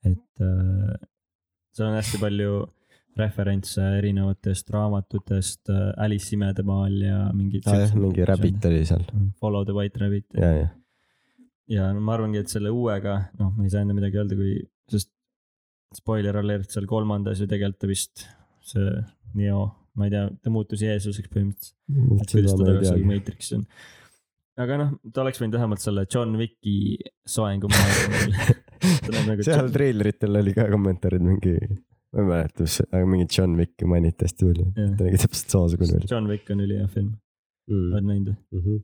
S1: et äh, seal on hästi palju referentse erinevatest raamatutest äh, Alice imedemaal ja mingid .
S2: Ah, jah , mingi Rabbit . oli seal .
S1: Follow the white rabbit
S2: ja , ja .
S1: ja no ma arvangi , et selle uuega , noh , ma ei saa enne midagi öelda , kui , sest spoiler alert seal kolmandas ju tegelikult ta vist see Neo , ma ei tea , ta muutus Jeesuseks põhimõtteliselt . et kuidas ta tagasi Matrix on . aga noh , ta oleks võinud vähemalt selle John Wicki soengu maha jätta . ta näeb nagu
S2: seal
S1: John-
S2: treileritel oli ka kommentaarid mingi , ma ei mäleta , mis , aga mingi John Wicki mainiti hästi palju .
S1: Jah.
S2: ta nägi täpselt samasugune välja
S1: John Wick on ülihea film ,
S2: mm. .
S1: oled näinud või ?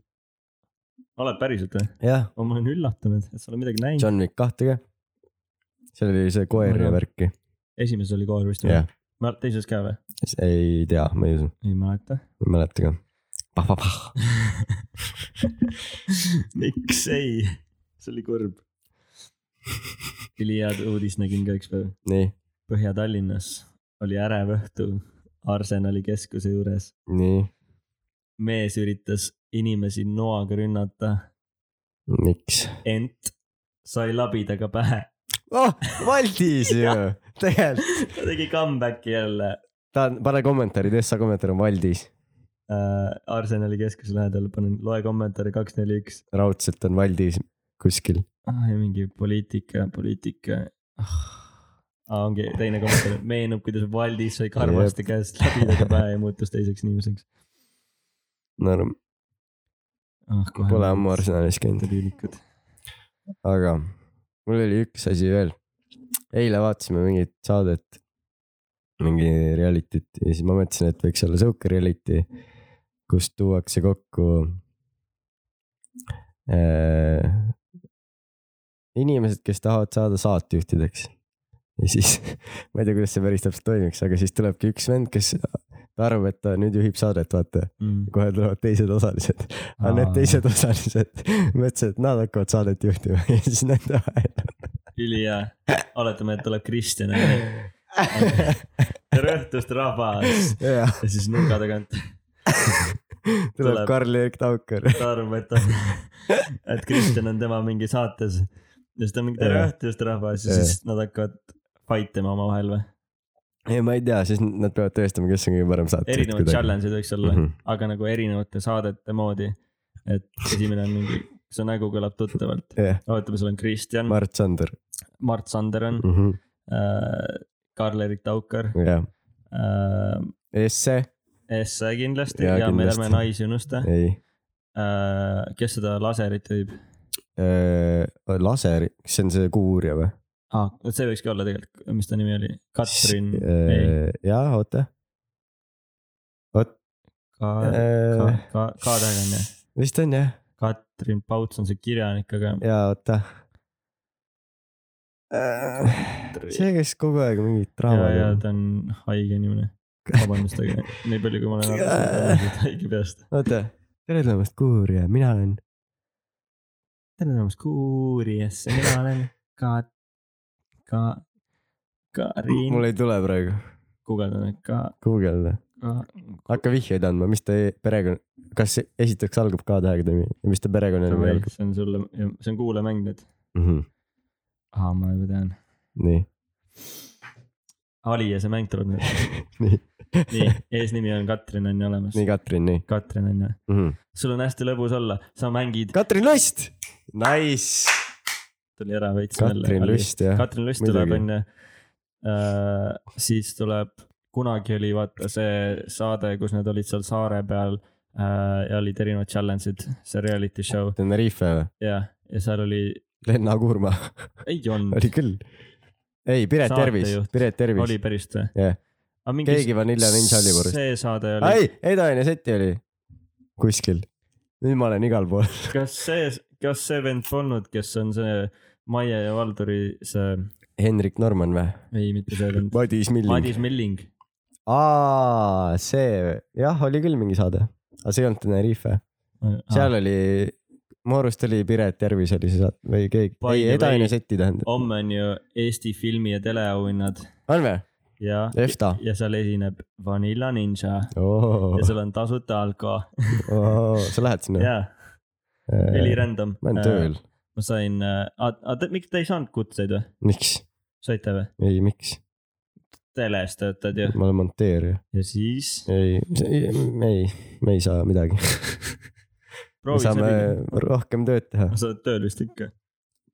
S1: oled päriselt või ?
S2: jah ,
S1: ma olen üllatunud , et sa oled midagi näinud .
S2: John Wick kahte ka . seal oli see koer ja
S1: Ma tean.
S2: värki ,
S1: esimeses oli koer vist või
S2: jah ?.
S1: teises ka või ?
S2: ei tea , ma ei usu ,
S1: ei mäleta .
S2: ma ei mäleta ka . Pah-pah-pah ,
S1: miks ei ? see oli kurb . ülihead uudist nägin ka üks päev .
S2: nii ,
S1: Põhja-Tallinnas oli ärev õhtu Arsenali keskuse juures .
S2: nii ,
S1: mees üritas inimesi noaga rünnata ,
S2: miks
S1: ent sai labidaga pähe .
S2: oh, ? Valdis ju , tegelikult .
S1: ta tegi comeback'i jälle
S2: ta on , pane kommentaarid , Essa kommentaar on Valdis ,
S1: äh, Arsenali keskuse lähedal , panen loe kommentaare kaks , neli , üks .
S2: raudselt on Valdis kuskil .
S1: ah , ja mingi poliitika , poliitika ah. . Ah, ongi teine kommentaar , meenub , kuidas Valdis sai karvaste käest labidaga pähe ja muutus teiseks inimeseks .
S2: no
S1: ah , kohe .
S2: pole ammu . Arsenalis käinud .
S1: tüülikud .
S2: aga mul oli üks asi veel . eile vaatasime mingit saadet , mingi reality't ja siis ma mõtlesin , et võiks olla sihuke reality , kus tuuakse kokku äh, inimesed , kes tahavad saada saatejuhtideks . ja siis ma ei tea , kuidas see päris täpselt toimiks , aga siis tulebki üks vend , kes ta arvab , et ta nüüd juhib saadet , vaata ,
S1: Mm.
S2: kohe tulevad teised osalised . aga need . teised osalised mõtlesid , et nad hakkavad saadet juhtima ja siis nende
S1: ülihea , oletame , et tuleb Kristjan , onju .
S2: vahel .
S1: tere õhtust , rahvas .
S2: jah ,
S1: ja siis nurga tagant
S2: tuleb
S1: Tuleb.
S2: Karl-Erik Taukar .
S1: ta arvab , et ta , et Kristjan on tema mingi saates . ja siis ta on mingi tere
S2: Jah.
S1: õhtust rahvas ja
S2: Jah.
S1: siis nad hakkavad fight ima omavahel või ?
S2: ei , ma ei tea , siis nad peavad tõestama , kes on kõige parem saatejuht .
S1: erinevaid challenge'id võiks olla ,
S2: Mhm.
S1: aga nagu erinevate saadete moodi . et esimene on mingi , su nägu kõlab tuttavalt .
S2: jah ,
S1: oletame , sul on Kristjan ,
S2: Mart Sander
S1: Mart Sander on ,
S2: mm . Mm. -hmm.
S1: Karl-Erik Taukar ,
S2: jah , Esse ,
S1: Esse kindlasti
S2: Jaa,
S1: ja me
S2: kindlasti.
S1: ärme naisi unusta .
S2: ei ,
S1: äh, kes seda laserit võib ?
S2: Laser , kas see on see Kuuurja või ?
S1: Ah, see võikski olla tegelikult , mis ta nimi oli , Katrin , ei ,
S2: äh, jah , oota ,
S1: Ka- ,
S2: Eh,
S1: Ka- , Ka- , Kaadega on ju .
S2: vist on jah ,
S1: Katrin Pauts on see kirjanik , aga
S2: ja oota . see , kes kogu aeg mingit
S1: ja ,
S2: draama
S1: ja ta on haige inimene . vabandust , aga nii palju , kui ma olen aru saanud , haige peast .
S2: oota , tere tulemast , Kuurja , mina olen .
S1: tere tulemast Kuuriasse , mina olen Ka- , Ka- , Karin ,
S2: mul ei tule praegu ,
S1: guugeldan , et Ka- ,
S2: guugelda .
S1: Ka- ,
S2: hakka vihjeid andma , mis ta e- perekonna , kas see- esiteks algab K tähega nimi ja mis ta perekonnanimi algab
S1: see on sulle , see on kuulamäng nüüd .
S2: mm ? -hmm.
S1: aa , ma juba tean .
S2: nii ,
S1: Ali ja see mäng tuleb nüüd .
S2: nii .
S1: nii , eesnimi on Katrin on ju olemas .
S2: nii , Katrin , nii
S1: Katrin on ju ,
S2: mm . -hmm.
S1: sul on hästi lõbus olla , sa mängid ,
S2: Katrin Lust . Nice .
S1: tuli ära veits .
S2: Katrin Lust jah .
S1: Katrin Lust tuleb
S2: Muidugi.
S1: onju . siis tuleb , kunagi oli vaata see saade , kus nad olid seal saare peal äh, ja olid erinevad challenge'id , see reality show
S2: Tenerife või ?
S1: ja , ja seal oli ,
S2: Lenna Kuurma
S1: ei olnud ,
S2: oli küll . ei , Piret
S1: Saatejuht.
S2: Tervis , Piret Tervis
S1: oli . päris või ?
S2: jah ,
S1: aga mingi
S2: keegi Vanilla Ninja oli päris .
S1: see saade oli ,
S2: ei , Edaine Seti oli kuskil . nüüd ma olen igal pool .
S1: kas see , kas see vend polnud , kes on see Maie ja Valduri see ,
S2: Henrik Norman või ?
S1: ei mitte see vend ,
S2: Madis Milling .
S1: Madis Milling ,
S2: aa , see , jah , oli küll mingi saade , aga see ei olnud Tenerife , seal oli , mu arust oli Piret Järvis oli see saade või keegi ,
S1: By the
S2: ei
S1: way-
S2: Edaine Seti tähendab ,
S1: homme on ju Eesti filmi ja teleauhinnad
S2: on või ?
S1: ja ,
S2: EFTA .
S1: ja seal esineb Vanilla Ninja
S2: oo
S1: ja , seal on tasuta alko
S2: sa lähed sinna ?
S1: ja ülirandom .
S2: Noh. ma olen tööl ,
S1: Äh, ma sain , miks te ei saanud kutseid või ,
S2: miks ?
S1: saite või ?
S2: ei , miks ?
S1: teles töötad ju
S2: ma olen monteerija ,
S1: ja siis
S2: ei , ei , me ei saa midagi , me
S1: proovi
S2: saame
S1: sellega ,
S2: rohkem tööd teha ,
S1: sa oled tööl vist ikka .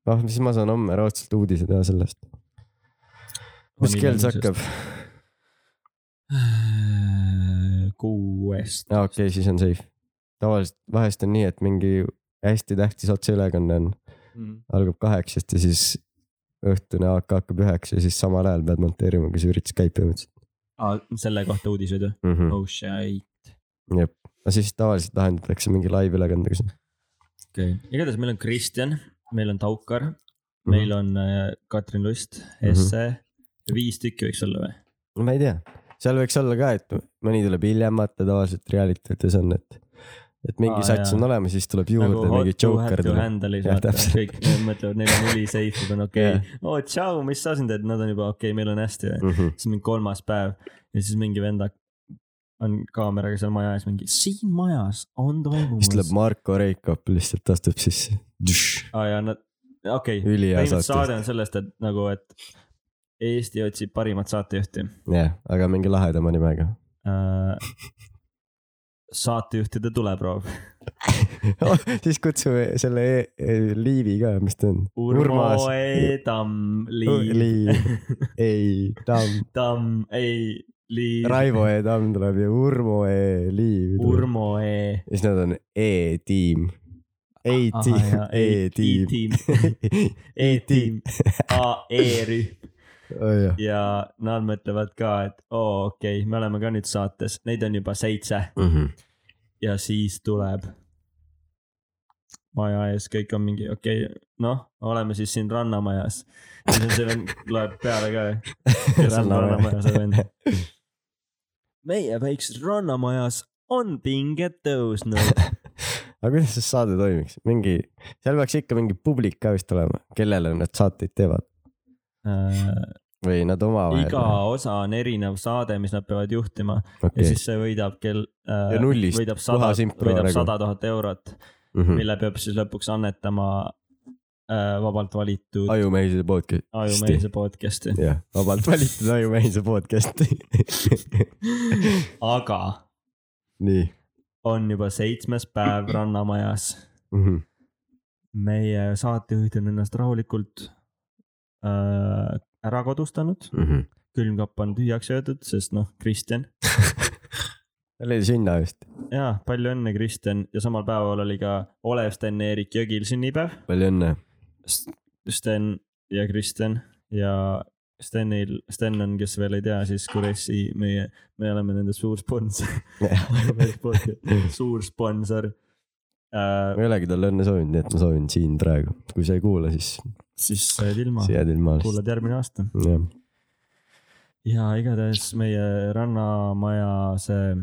S2: noh , siis ma saan homme raudselt uudise teha sellest , mis kell see ? hakkab ?
S1: Äh, kuuest .
S2: aa , okei okay, , siis on safe . tavaliselt vahest on nii , et mingi hästi tähtis otseülekanne on , algab kaheksast ja siis õhtune AK hakkab üheksa ja siis samal ajal pead monteerima , kui sa üritad Skype'i mõttes
S1: selle kohta uudiseid või ?
S2: mm . -hmm.
S1: oh shit .
S2: Mhm, jep , no siis tavaliselt lahendatakse mingi live-ülekandega see .
S1: okei okay. , igatahes meil on Kristjan , meil on Taukar ,
S2: Mhm.
S1: meil on äh, Katrin Lust , Esse mm , -hmm. viis tükki võiks olla või ?
S2: no ma ei tea , seal võiks olla ka , et mõni tuleb hiljem , vaata tavaliselt reality tes on , et , et mingi
S1: Aa,
S2: ah, sats
S1: jaa.
S2: on olemas , siis tuleb juurde nagu mingi joker
S1: tuleb .
S2: tuleb .
S1: Handle'is
S2: Jah,
S1: vaata ,
S2: täpselt.
S1: kõik need mõtlevad , neil on üliseif , nad on okei okay. , oo tšau , mis sa siin teed , nad on juba okei okay, , meil on hästi või .
S2: Mm -hmm.
S1: siis on mingi kolmas päev ja siis mingi vend hak- on kaameraga seal maja ees mingi , siin majas on
S2: siis tuleb
S1: toimumas .
S2: Marko Reikop , lihtsalt astub sisse .
S1: aa jaa , nad , okei okay. ,
S2: ülihea
S1: põhimõtteliselt saade
S2: saate .
S1: on sellest , et nagu , et Eesti otsib parimat saatejuhti
S2: jah , aga mingi lahedama nimega .
S1: Äh, saatejuhtide tuleproov .
S2: oh, siis kutsume selle e e Liivi ka , mis ta on ?
S1: Urmo . E. Tamm , Liiv ,
S2: Liiv , ei , Tamm ,
S1: Tamm , ei , Liiv ,
S2: Raivo E Tamm tuleb ja Urmo E Liiv tuleb .
S1: Urmo E .
S2: ja siis nad on E E-tiim .
S1: Ahah, Ah, jaa, ,
S2: ei-tiim
S1: E
S2: E-tiim .
S1: E-tiim. E-tiim , E A , E-rühm
S2: Oh,
S1: ja nad mõtlevad ka , et oo , okei okay, , me oleme ka nüüd saates , neid on juba seitse
S2: Mhm.
S1: ja siis tuleb maja ees , kõik on mingi okei okay, , noh , oleme siis siin rannamajas . siis on see vend , loeb peale ka kes on rannamajas olnud . meie väikses rannamajas on pinged tõusnud .
S2: aga kuidas see saade toimiks , mingi , seal peaks ikka mingi publik ka vist olema , kellele nad saateid teevad või nad omavahel
S1: iga . osa on erinev saade , mis nad peavad juhtima ja
S2: Okay.
S1: siis see võidab kell äh,
S2: Ja nullist,
S1: võidab sada ,
S2: puhas impro
S1: võidab
S2: nagu.
S1: sada tuhat eurot ,
S2: Mm -hmm.
S1: mille peab siis lõpuks annetama äh, vabalt valitud
S2: ajumehise podcast .
S1: ajumehise podcast'i ,
S2: jah , vabalt valitud ajumehise podcast'i .
S1: aga
S2: nii
S1: on juba seitsmes päev rannamajas
S2: mm . -hmm.
S1: meie saatejuhid on ennast rahulikult äh, ära kodustanud ,
S2: Mm -hmm.
S1: külmkapp on tühjaks söödud , sest noh , Kristjan .
S2: tal oli sünna vist ,
S1: jaa , palju õnne , Kristjan ja samal päeval oli ka Olev Sten ja Erik Jõgil sünnipäev .
S2: palju õnne .
S1: Sten ja Kristjan ja Stenil , Sten on , kes veel ei tea , siis Kuressi , meie , me oleme nende suur sponsor suur sponsor äh, .
S2: ma ei olegi talle õnne soovinud , nii et ma soovin siin praegu , kui sa ei kuula , siis
S1: siis sa jääd ilma
S2: sa , jääd ilma alles .
S1: kuulad järgmine aasta .
S2: jah ,
S1: ja igatahes meie Rannamaja see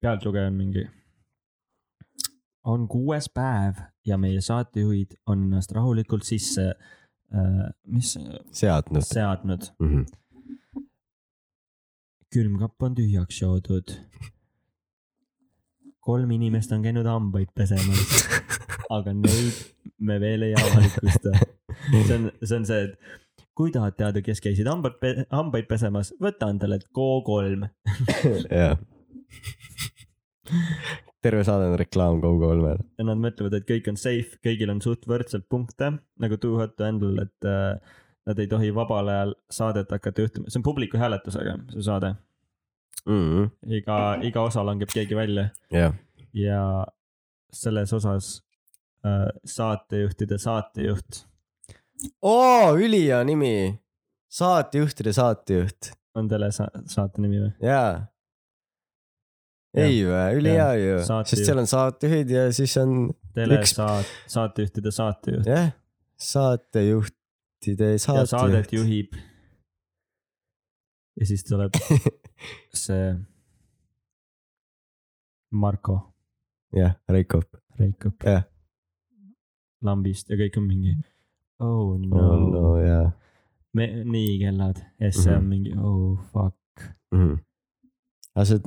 S1: pealtlugeja on mingi . on kuues päev ja meie saatejuhid on ennast rahulikult sisse äh, , mis
S2: seadnud
S1: seadnud ,
S2: mm . -hmm.
S1: külmkapp on tühjaks joodud . kolm inimest on käinud hambaid pesemas , aga neid me veel ei avalikusta . see on , see on see , et kui tahad teada , kes käisid hambad , hambaid pesemas , võta endale K3 .
S2: jah . terve saade on reklaam Go3-le .
S1: ja nad mõtlevad , et kõik on safe , kõigil on suht võrdselt punkte nagu Too Hot to Handle , et äh, nad ei tohi vabal ajal saadet hakata juhtima , see on publiku hääletusega , see saade . iga , iga osa langeb keegi välja
S2: Mhm. jah ,
S1: ja selles osas äh, saatejuhtide saatejuht
S2: oo , ülihea nimi . saatejuhtide saatejuht ,
S1: on telesaate nimi või ?
S2: jaa . ei vä , ülihea ju ,
S1: Saatejuht.
S2: sest seal on saatejuhid ja siis on
S1: telesaat , saatejuhtide saatejuht
S2: jah , saatejuhtide
S1: ja saadet
S2: saatejuht .
S1: juhib . ja siis tuleb see Marko
S2: jah , Reiko .
S1: Reikop
S2: Jah.
S1: lambist ja kõik on mingi oh no,
S2: no , no jaa
S1: Me, nii kellad ja siis see on
S2: Mhm.
S1: mingi oh fuck
S2: mm. . aga see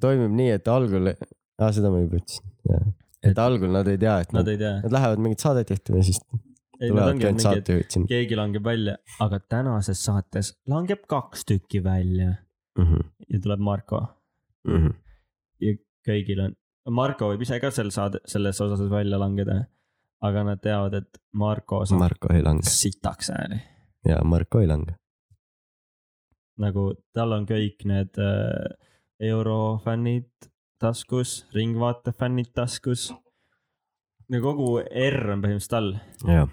S2: toimib nii , et algul , aa seda ma juba ütlesin , jah . et algul nad ei tea , et
S1: nad
S2: nad ,
S1: ei tea
S2: nad lähevad mingit saadet juhtima ja siis
S1: ei nad
S2: tulevadki
S1: ongi
S2: ainult
S1: mingi et
S2: saatejuhid sinna
S1: keegi langeb välja aga tänases saates langeb kaks tükki välja
S2: mm . -hmm.
S1: ja tuleb Marko
S2: Mm -hmm.
S1: kõigil on Marko võib ise ka sel saade selles osas välja langeda aga nad teavad et Marko saab Mar
S2: Marko ei lange
S1: sitaks hääli
S2: ja Marko ei lange .
S1: nagu tal on kõik need äh, eurofännid taskus , Ringvaate fännid taskus . no kogu R on põhimõtteliselt tal .
S2: jah ,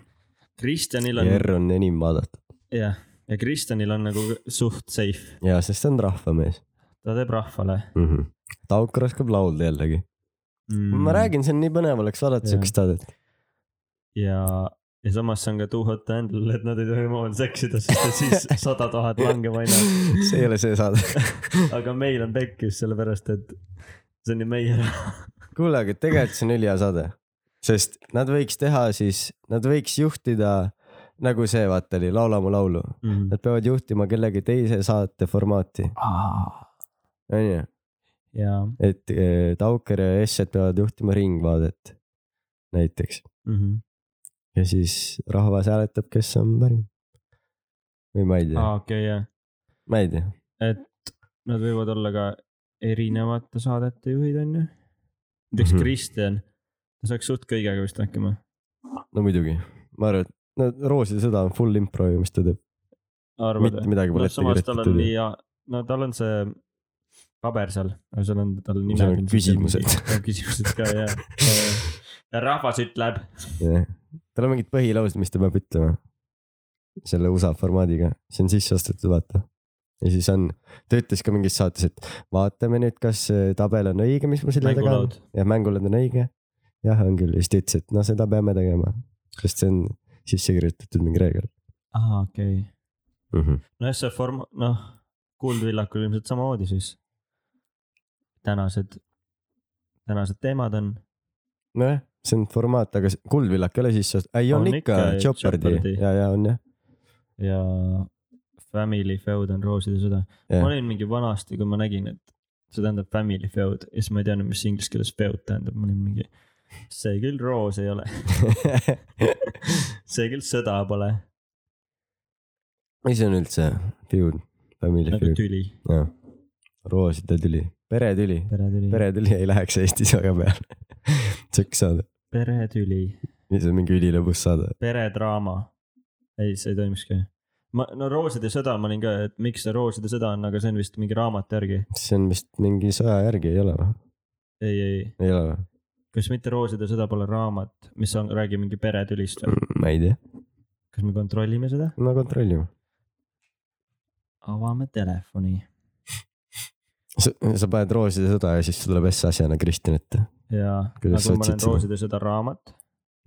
S1: Kristjanil on ,
S2: R on enim vaadatud
S1: jah , ja Kristjanil on nagu suht safe ,
S2: ja sest ta on rahvamees
S1: ta teeb rahvale
S2: mm . -hmm. Taukar oskab laulda jällegi mm. . ma . räägin , see on nii põnev oleks vaadata
S1: Jah.
S2: siukest saadet .
S1: ja , ja samas see on ka too hot to handle , et nad ei tohi omavahel seksida , sest et siis sada tuhat langeb aina .
S2: see ei ole see saade .
S1: aga meil on pekkis , sellepärast et see on ju meie raha .
S2: kuule , aga tegelikult see on ülihea saade , sest nad võiks teha siis , nad võiks juhtida nagu see , vaata oli Laula mu laulu , nad peavad juhtima kellegi teise saate formaati , onju ,
S1: jaa .
S2: et eh, Taukar ja Esset peavad juhtima Ringvaadet näiteks
S1: Mhm.
S2: ja siis rahvas hääletab , kes on parim . või ma ei tea ,
S1: aa , okei , jah .
S2: ma ei tea ,
S1: et nad võivad olla ka erinevate saadete juhid , on ju . näiteks
S2: Mhm.
S1: Kristjan , ta saaks suht kõigega vist hakkama .
S2: no muidugi , ma arvan , et no Rooside sõda on full impro ju , mis ta teeb ,
S1: arvad
S2: mitte
S1: või ?
S2: midagi
S1: no
S2: pole ette
S1: samas tal on
S2: kirjutatud
S1: nii . hea , no tal on see paber seal , seal on tal nime .
S2: Seal on küsimused.
S1: küsimused ka ja , ja rahvas ütleb .
S2: jah , tal on mingid põhilaused , mis ta peab ütlema . selle USA formaadiga , see on sisse ostetud , vaata . ja siis on , ta ütles ka mingis saates , et vaatame nüüd , kas see tabel on õige , mis mul selja taga on
S1: mängulaud ..
S2: jah , mängulaud on õige . jah , on küll , ja siis ta ütles , et noh , seda peame tegema , sest see on sisse kirjutatud mingi reegel
S1: aa , okei okay. .
S2: mm . -hmm.
S1: nojah , see form- , noh , Kuldvillakul ilmselt samamoodi siis . tänased , tänased teemad on
S2: nojah , see on formaat , aga see- Kuldvillak ei ole sisse ostetud , ei on, on ikka , Jeopardy
S1: Jeopardy.
S2: ja , ja on jah .
S1: ja Family Feud on Rooside sõda .
S2: Jah.
S1: ma olin mingi vanasti , kui ma nägin , et see tähendab Family Feud ja siis ma ei teadnud , mis inglise keeles feud tähendab , ma olin mingi , see küll roos ei ole , see küll sõda pole ,
S2: mis on üldse feud , family
S1: nagu
S2: feud ,
S1: tüli ,
S2: jah . rooside tüli , peretüli
S1: peretüli ,
S2: peretüli ei läheks Eestis väga peale . see üks saade ,
S1: peretüli ,
S2: mis on mingi ülilõbus saade .
S1: peredraama . ei , see ei toimikski . ma , no Rooside sõda ma olin ka , et miks see Rooside sõda on , aga see on vist mingi raamatu järgi .
S2: see on vist mingi sõja järgi ei ole või ?
S1: ei , ei ,
S2: ei ole või ?
S1: kas mitte Rooside sõda pole raamat , mis on , räägib mingi peretülist või ?
S2: ma ei tea ,
S1: kas me kontrollime seda ?
S2: no kontrollime .
S1: avame telefoni
S2: sa sa paned rooside sõda ja siis sul tuleb S-asjana Kristjan ette .
S1: jaa , aga
S2: Kuidas sa
S1: kui ma
S2: otsid
S1: olen
S2: seda?
S1: Rooside sõda raamat ,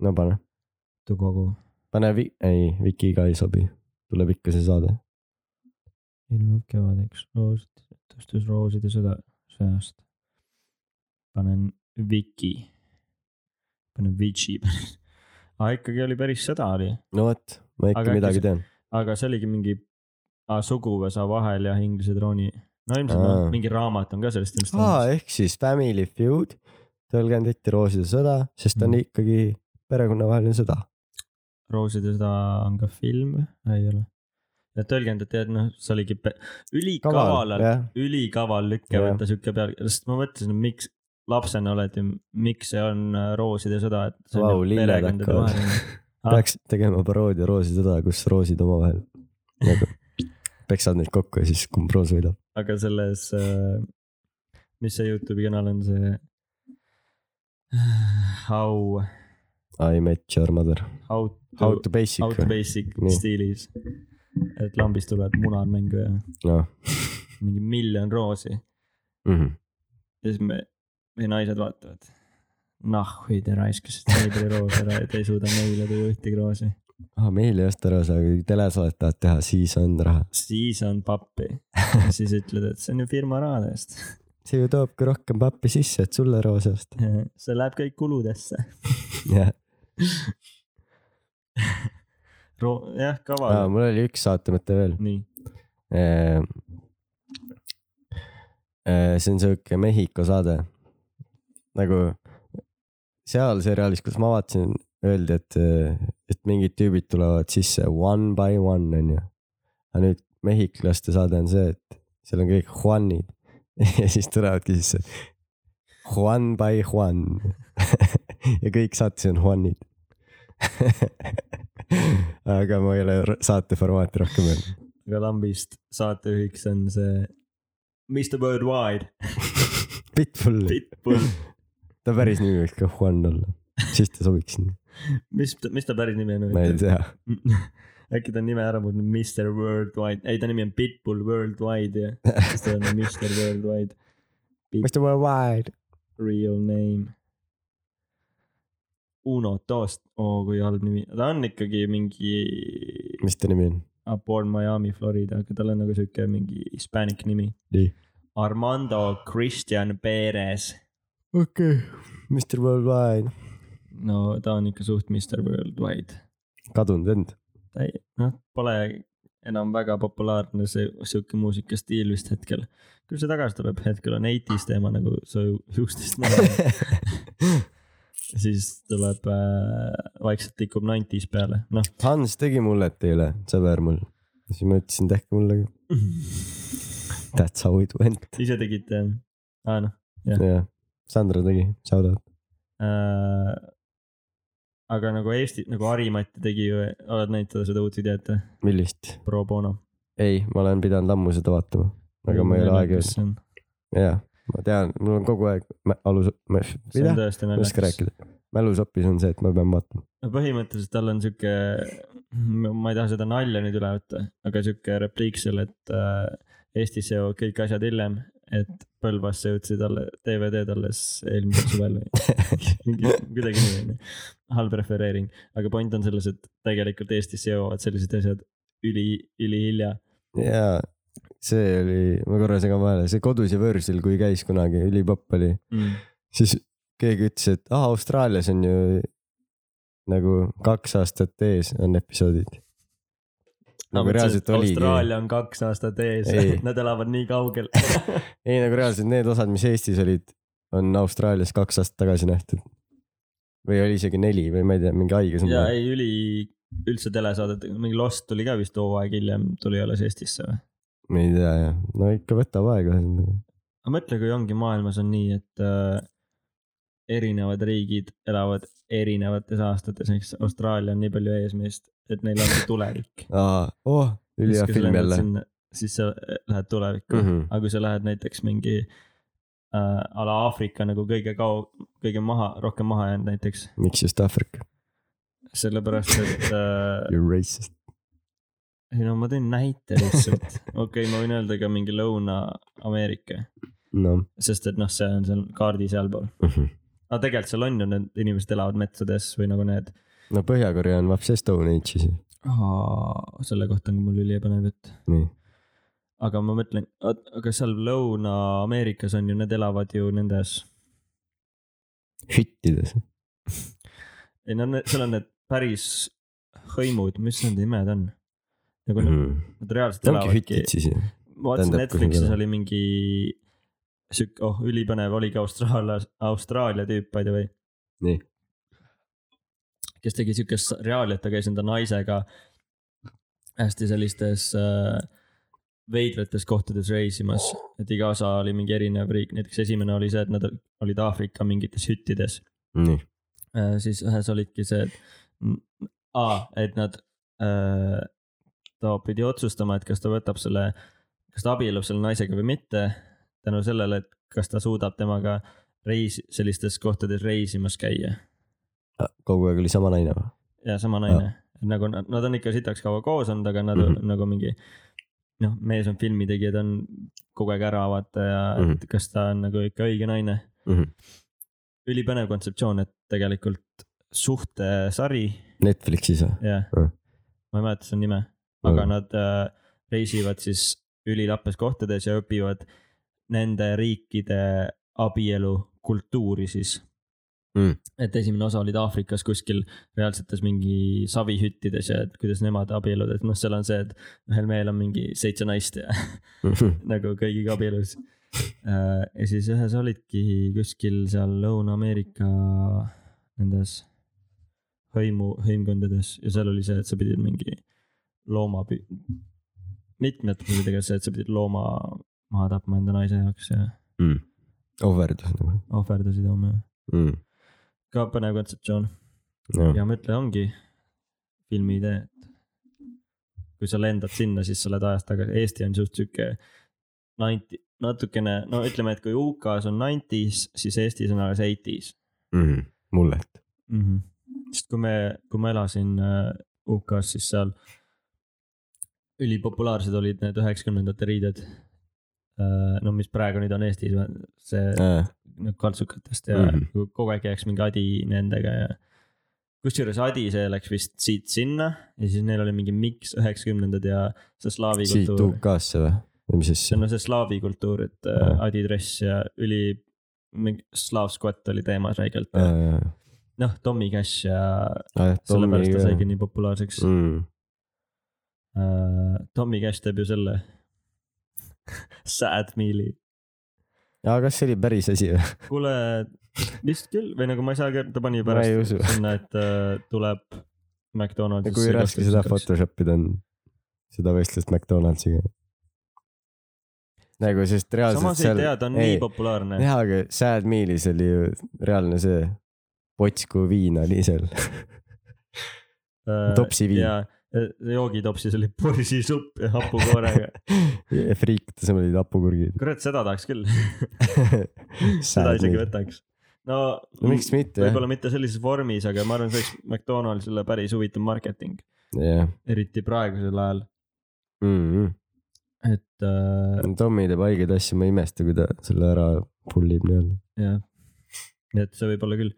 S2: no pane ,
S1: kogu
S2: pane vi- , ei , Viki ka ei sobi . tuleb ikka see saade .
S1: ilmub kevadeks Rooside , tõstus Rooside sõda sõjast . panen Viki , panen Vici , aga ikkagi oli päris sõda oli ,
S2: no vot , ma ikka
S1: Aga äkki
S2: aga midagi
S1: see-
S2: see... tean .
S1: aga see oligi mingi aa, suguvõsa vahel ja inglise trooni , no ilmselt
S2: Aa.
S1: noh, mingi raamat on ka sellest ilmselt
S2: aa ,
S1: olemas.
S2: ehk siis family feud tõlgendati rooside sõda , sest ta on
S1: Mhm.
S2: ikkagi perekonnavaheline sõda .
S1: Rooside sõda on ka film , ei ole , ja tõlgendati , et noh , see oligi pe- ülikavalalt ,
S2: jah .
S1: ülikaval lükke
S2: Jah.
S1: võtta sihuke peal , sest ma mõtlesin , et miks lapsena oled ju , miks see on äh, rooside sõda , et see
S2: Vau,
S1: on ju
S2: lilled
S1: perekondade
S2: hakkavad.
S1: vaheline . Ah.
S2: peaks tegema paroodia roosisõda , kus roosid omavahel nagu peksad neid kokku ja siis kumb roos võidab .
S1: aga selles , mis see Youtube'i kanal on , see äh, How ,
S2: I met your mother .
S1: how
S2: How
S1: to ,
S2: to basic
S1: how to . basic
S2: Nii.
S1: stiilis . et lambist tulevad munad mängu ja
S2: noh , mhm.
S1: mingi miljon roosi ja siis me , meie naised vaatavad . noh , või te raiskasite nii palju roose ära ja te ei suuda meile tuua ühtegi roosi .
S2: meil ei osta roose , aga kui telesaadet tahad teha , siis on raha .
S1: siis on pappi , siis ütled , et see on ju firma rahade eest .
S2: see ju toobki rohkem pappi sisse , et sulle roose osta .
S1: see läheb kõik kuludesse .
S2: jah ,
S1: Roo- , jah , kaval ,
S2: mul oli üks saatemõte veel .
S1: nii ,
S2: Ehm, eh, see on sihuke Mehhiko saade . nagu seal seriaalis , kus ma vaatasin , öeldi , et , et mingid tüübid tulevad sisse one by one , onju . aga nüüd mehhiklaste saade on see , et seal on kõik Juanid ja siis tulevadki sisse Juan by Juan ja kõik saates on Juanid aga ma ei ole r- saate formaati rohkem öelnud .
S1: aga lambist saatejuhiks on see Mr Worldwide ,
S2: Pitbull ,
S1: Pitbull .
S2: ta päris nimi võiks ka Juan olla , siis ta sobiks sinna ,
S1: mis , mis ta päris nimi
S2: ma ei
S1: on ?
S2: tea .
S1: äkki ta on nime ära muutnud Mr Worldwide , ei ta nimi on Pitbull Worldwide ja siis ta on Mr Worldwide ,
S2: Mr Worldwide .
S1: real name . Uno Toast , oo kui halb nimi , ta on ikkagi mingi
S2: mis ta nimi on ?
S1: ah, Born Miami , Florida , aga tal on nagu sihuke mingi hispanic nimi
S2: Nii. .
S1: Armando Christian Perez
S2: okei okay. . Mr Worldwide .
S1: no ta on ikka suht Mr Worldwide .
S2: kadunud vend .
S1: ta ei , noh , pole enam väga populaarne see sihuke muusikastiil vist hetkel . küll see tagasi tuleb , hetkel on 80s teema , nagu sa ju juustest näed . siis tuleb äh, , vaikselt tikub 90s peale , noh .
S2: Hans tegi mullet eile , sõber mul . siis ma ütlesin , tehke mulle ka . That's how it went .
S1: ise tegite äh, , aa noh
S2: jah , Sandra tegi , shout out .
S1: äh, . aga nagu Eesti , nagu Harimati tegi ju , oled näinud teda seda uut videot ,
S2: millist ?
S1: pro bono ?
S2: ei , ma olen pidanud ammu seda vaatama , aga ma ei ole aega olnud .
S1: olnud .
S2: jaa , ma tean , mul on kogu aeg mä- alus , ma ei
S1: see
S2: tea
S1: on , tõesti
S2: ma ei
S1: naljakas .
S2: oska rääkida . mälusopis on see , et ma pean vaatama .
S1: no põhimõtteliselt tal on sihuke , ma ei taha seda nalja nüüd üle võtta , aga sihuke repliik seal , et äh, Eestis jõuavad kõik asjad hiljem , et Põlvasse jõudsid alle DVD-d alles eelmisel suvel või mingi- kuidagi nii onju . halb refereering , aga point on selles , et tegelikult Eestisse jõuavad sellised asjad üli , ülihilja .
S2: jaa , see oli , ma korra segan vahele , see kodus ja võõrsil , kui käis kunagi , ülipopp oli ,
S1: Mm.
S2: siis keegi ütles , et aa , Austraalias on ju nagu kaks aastat ees on episoodid . nagu reaalselt oligi .
S1: Austraalia on kaks aastat ees
S2: Ei. ,
S1: nad elavad nii kaugel .
S2: ei , nagu reaalselt need osad , mis Eestis olid , on Austraalias kaks aastat tagasi nähtud . või oli isegi neli või ma ei tea , mingi haige
S1: ja
S2: sõna .
S1: ei , üli , üldse telesaadetega , mingi Lost tuli ka vist hooaeg hiljem , tuli alles Eestisse või ?
S2: ma ei tea jah , no ikka võtab aega nagu, ühesõnaga .
S1: aga mõtle , kui ongi maailmas on nii , et äh, erinevad riigid elavad erinevates aastates , näiteks Austraalia on nii palju ees meist , et neil on see tulevik .
S2: aa , oh , ülihea film jälle .
S1: siis sa äh, lähed tulevikku mm , -hmm.
S2: Mhm.
S1: aga kui sa lähed näiteks mingi äh, a la Aafrika nagu kõige kaug- , kõige maha , rohkem maha jäänud näiteks ,
S2: miks just Aafrika ?
S1: sellepärast et äh,
S2: You are racist .
S1: ei no ma tõin näite lihtsalt , okei okay, , ma võin öelda ka mingi Lõuna-Ameerika ,
S2: noh
S1: sest et noh , see on seal kaardi sealpool .
S2: mm -hmm. .
S1: aga tegelikult seal on ju need inimesed elavad metsades või nagu need
S2: no Põhja-Korea on vapsi Stone Age'is ju .
S1: oh, . selle kohta on mul ülipõnev jutt ,
S2: nii .
S1: aga ma mõtlen , aga seal Lõuna-Ameerikas on ju , need elavad ju nendes ,
S2: hüttides .
S1: ei no ne- seal on need päris hõimud , mis need nimed on ? nagu mm -hmm. nad reaalselt
S2: ongi
S1: elavadki
S2: hütid . siis ju .
S1: ma vaatasin
S2: Tähendab, kus nad
S1: Netflixis
S2: elavad.
S1: oli mingi sihuke , oh ülipõnev oligi Austraalia , Austraalia tüüp by the way .
S2: Nii. .
S1: kes tegi siukest reaali , et ta käis enda naisega hästi sellistes äh, veidrates kohtades reisimas , et iga osa oli mingi erinev riik , näiteks esimene oli see , et nad olid Aafrika mingites hüttides .
S2: nii .
S1: Äh, siis ühes olidki see , et , et nad , ta pidi otsustama , et kas ta võtab selle , kas ta abiellub selle naisega või mitte . tänu sellele , et kas ta suudab temaga reis , sellistes kohtades reisimas käia
S2: Ah, kogu aeg oli sama naine või ?
S1: ja sama naine , nagu nad, nad on ikka sitaks kaua koos olnud , aga nad mm
S2: Mhm.
S1: -hmm. nagu mingi noh , mees on filmitegija , ta on kogu aeg ära vaata ja mm -hmm. et kas ta on nagu ikka õige naine .
S2: Mm -hmm.
S1: ülipõnev kontseptsioon , et tegelikult suhtesari
S2: Netflixis või ?
S1: jah
S2: Mm.
S1: mm. , ma ei mäleta selle nime , aga
S2: Mm.
S1: mm. nad äh, reisivad siis ülilappes kohtades ja õpivad nende riikide abielu kultuuri siis
S2: Mm. .
S1: et esimene osa olid Aafrikas kuskil reaalsetes mingi savihüttides ja et kuidas nemad abielluvad , et noh , seal on see , et ühel mehel on mingi seitse naist ja nagu kõigiga abielus . ja siis ühes olidki kuskil seal Lõuna-Ameerika nendes hõimu , hõimkondades ja seal oli see , et sa pidid mingi looma , mitmed oli tegelikult see , et sa pidid looma maha tapma enda naise jaoks ja
S2: ohverdus nagu
S1: ohverdasid oma . Mhm.
S2: mm. .
S1: ka põnev kontseptsioon
S2: jah ,
S1: ja ma ütlen , ongi filmi idee , et kui sa lendad sinna , siis sa oled ajas tagasi , Eesti on suht sihuke ninety , natukene , no ütleme , et kui UK-s on nineties , siis Eestis on alles eighties Mhm.
S2: mullet .
S1: mm . -hmm. sest kui me , kui ma elasin äh, UK-s , siis seal ülipopulaarsed olid need üheksakümnendate riided . no mis praegu nüüd on Eestis , see nagu kaltsukatest ja
S2: Mhm.
S1: mm -hmm. kogu aeg jääks mingi adi nendega ja . kusjuures adi , see läks vist siit sinna ja siis neil oli mingi miks üheksakümnendad ja see slaavi
S2: siit
S1: kultuur .
S2: UK-sse või ? või mis
S1: see
S2: asja ?
S1: on no see slaavi kultuur , et
S2: Jaa.
S1: äh, adi dress ja üli , mingi slaavskott oli teemas räigelt .
S2: jah ,
S1: noh , Tommy Cash ja
S2: Tommy
S1: sellepärast ta saigi
S2: ka .
S1: nii populaarseks mm. . Tommy Cash teeb ju selle Sad Meal'i .
S2: aga kas see oli päris asi või ?
S1: kuule , vist küll või nagu ma ei saagi , ta pani ju
S2: ma ei
S1: pärast
S2: usu .
S1: sinna , et äh, tuleb McDonald's .
S2: kui raske seda . Photoshop ida on , seda vestlust McDonaldsiga . nagu , sest reaalselt
S1: samas ei
S2: seal .
S1: tea , ta on ei. nii populaarne .
S2: jah , aga Sad Mealis oli ju reaalne see potsku viin oli seal . topsi viin.
S1: Äh, ja äh, joogitopsis oli porsisupp ja hapukoorega .
S2: Freak , see olid hapukurgid .
S1: kurat , seda tahaks küll , seda isegi võtaks . no,
S2: no miks mitte jah ,
S1: võib-olla mitte sellises vormis , aga ma arvan , see oleks McDonaldsile päris huvitav marketing ,
S2: jah .
S1: eriti praegusel ajal , et äh,
S2: Tommy teeb haigeid asju , ma ei imesta , kui ta selle ära pull ib nii-öelda .
S1: jah , nii et see võib olla küll .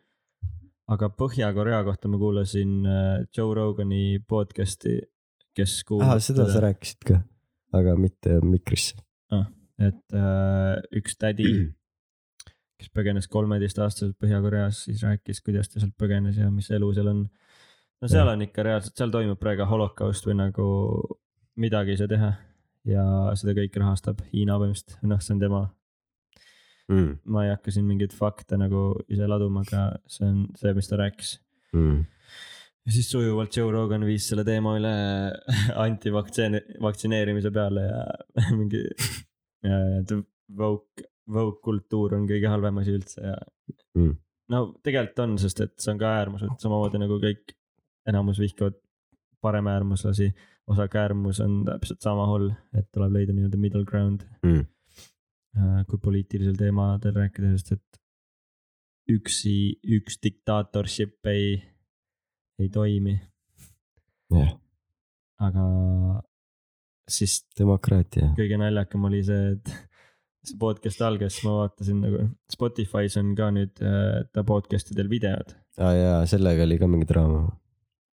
S1: aga Põhja-Korea kohta ma kuulasin äh, Joe Rogani podcast'i , kes kuulab
S2: aa , Ah, seda sa rääkisid ka , aga mitte mikrisse .
S1: et äh, üks tädi , kes põgenes kolmeteistaastaselt Põhja-Koreas , siis rääkis , kuidas ta sealt põgenes ja mis elu seal on . no seal
S2: Jah.
S1: on ikka reaalselt , seal toimub praegu holokaust või nagu midagi ei saa teha ja seda kõike rahastab Hiina põhimõtteliselt , noh , see on tema ma ei hakka siin mingeid fakte nagu ise laduma , aga see on see , mis ta rääkis .
S2: Mm-hmm.
S1: ja siis sujuvalt Joe Rogan viis selle teema üle antivaktsiine , vaktsineerimise peale ja mingi ja, ja et woke , woke kultuur on kõige halvem asi üldse ja
S2: Mm.
S1: no tegelikult on , sest et see on ka äärmus , et samamoodi nagu kõik enamus vihkavad paremäärmuslasi , osakäärmus on täpselt sama hull , et tuleb leida nii-öelda middle ground
S2: Mm.
S1: Äh, kui poliitilisel teemadel rääkida , sest et üksi , üks diktaatorship ei , ei toimi ,
S2: jah ,
S1: aga siis
S2: demokraatia .
S1: kõige naljakam oli see , et see podcast algas , ma vaatasin nagu Spotify's on ka nüüd äh, ta podcast idel videod .
S2: aa Ah, jaa , sellega oli ka mingi draama .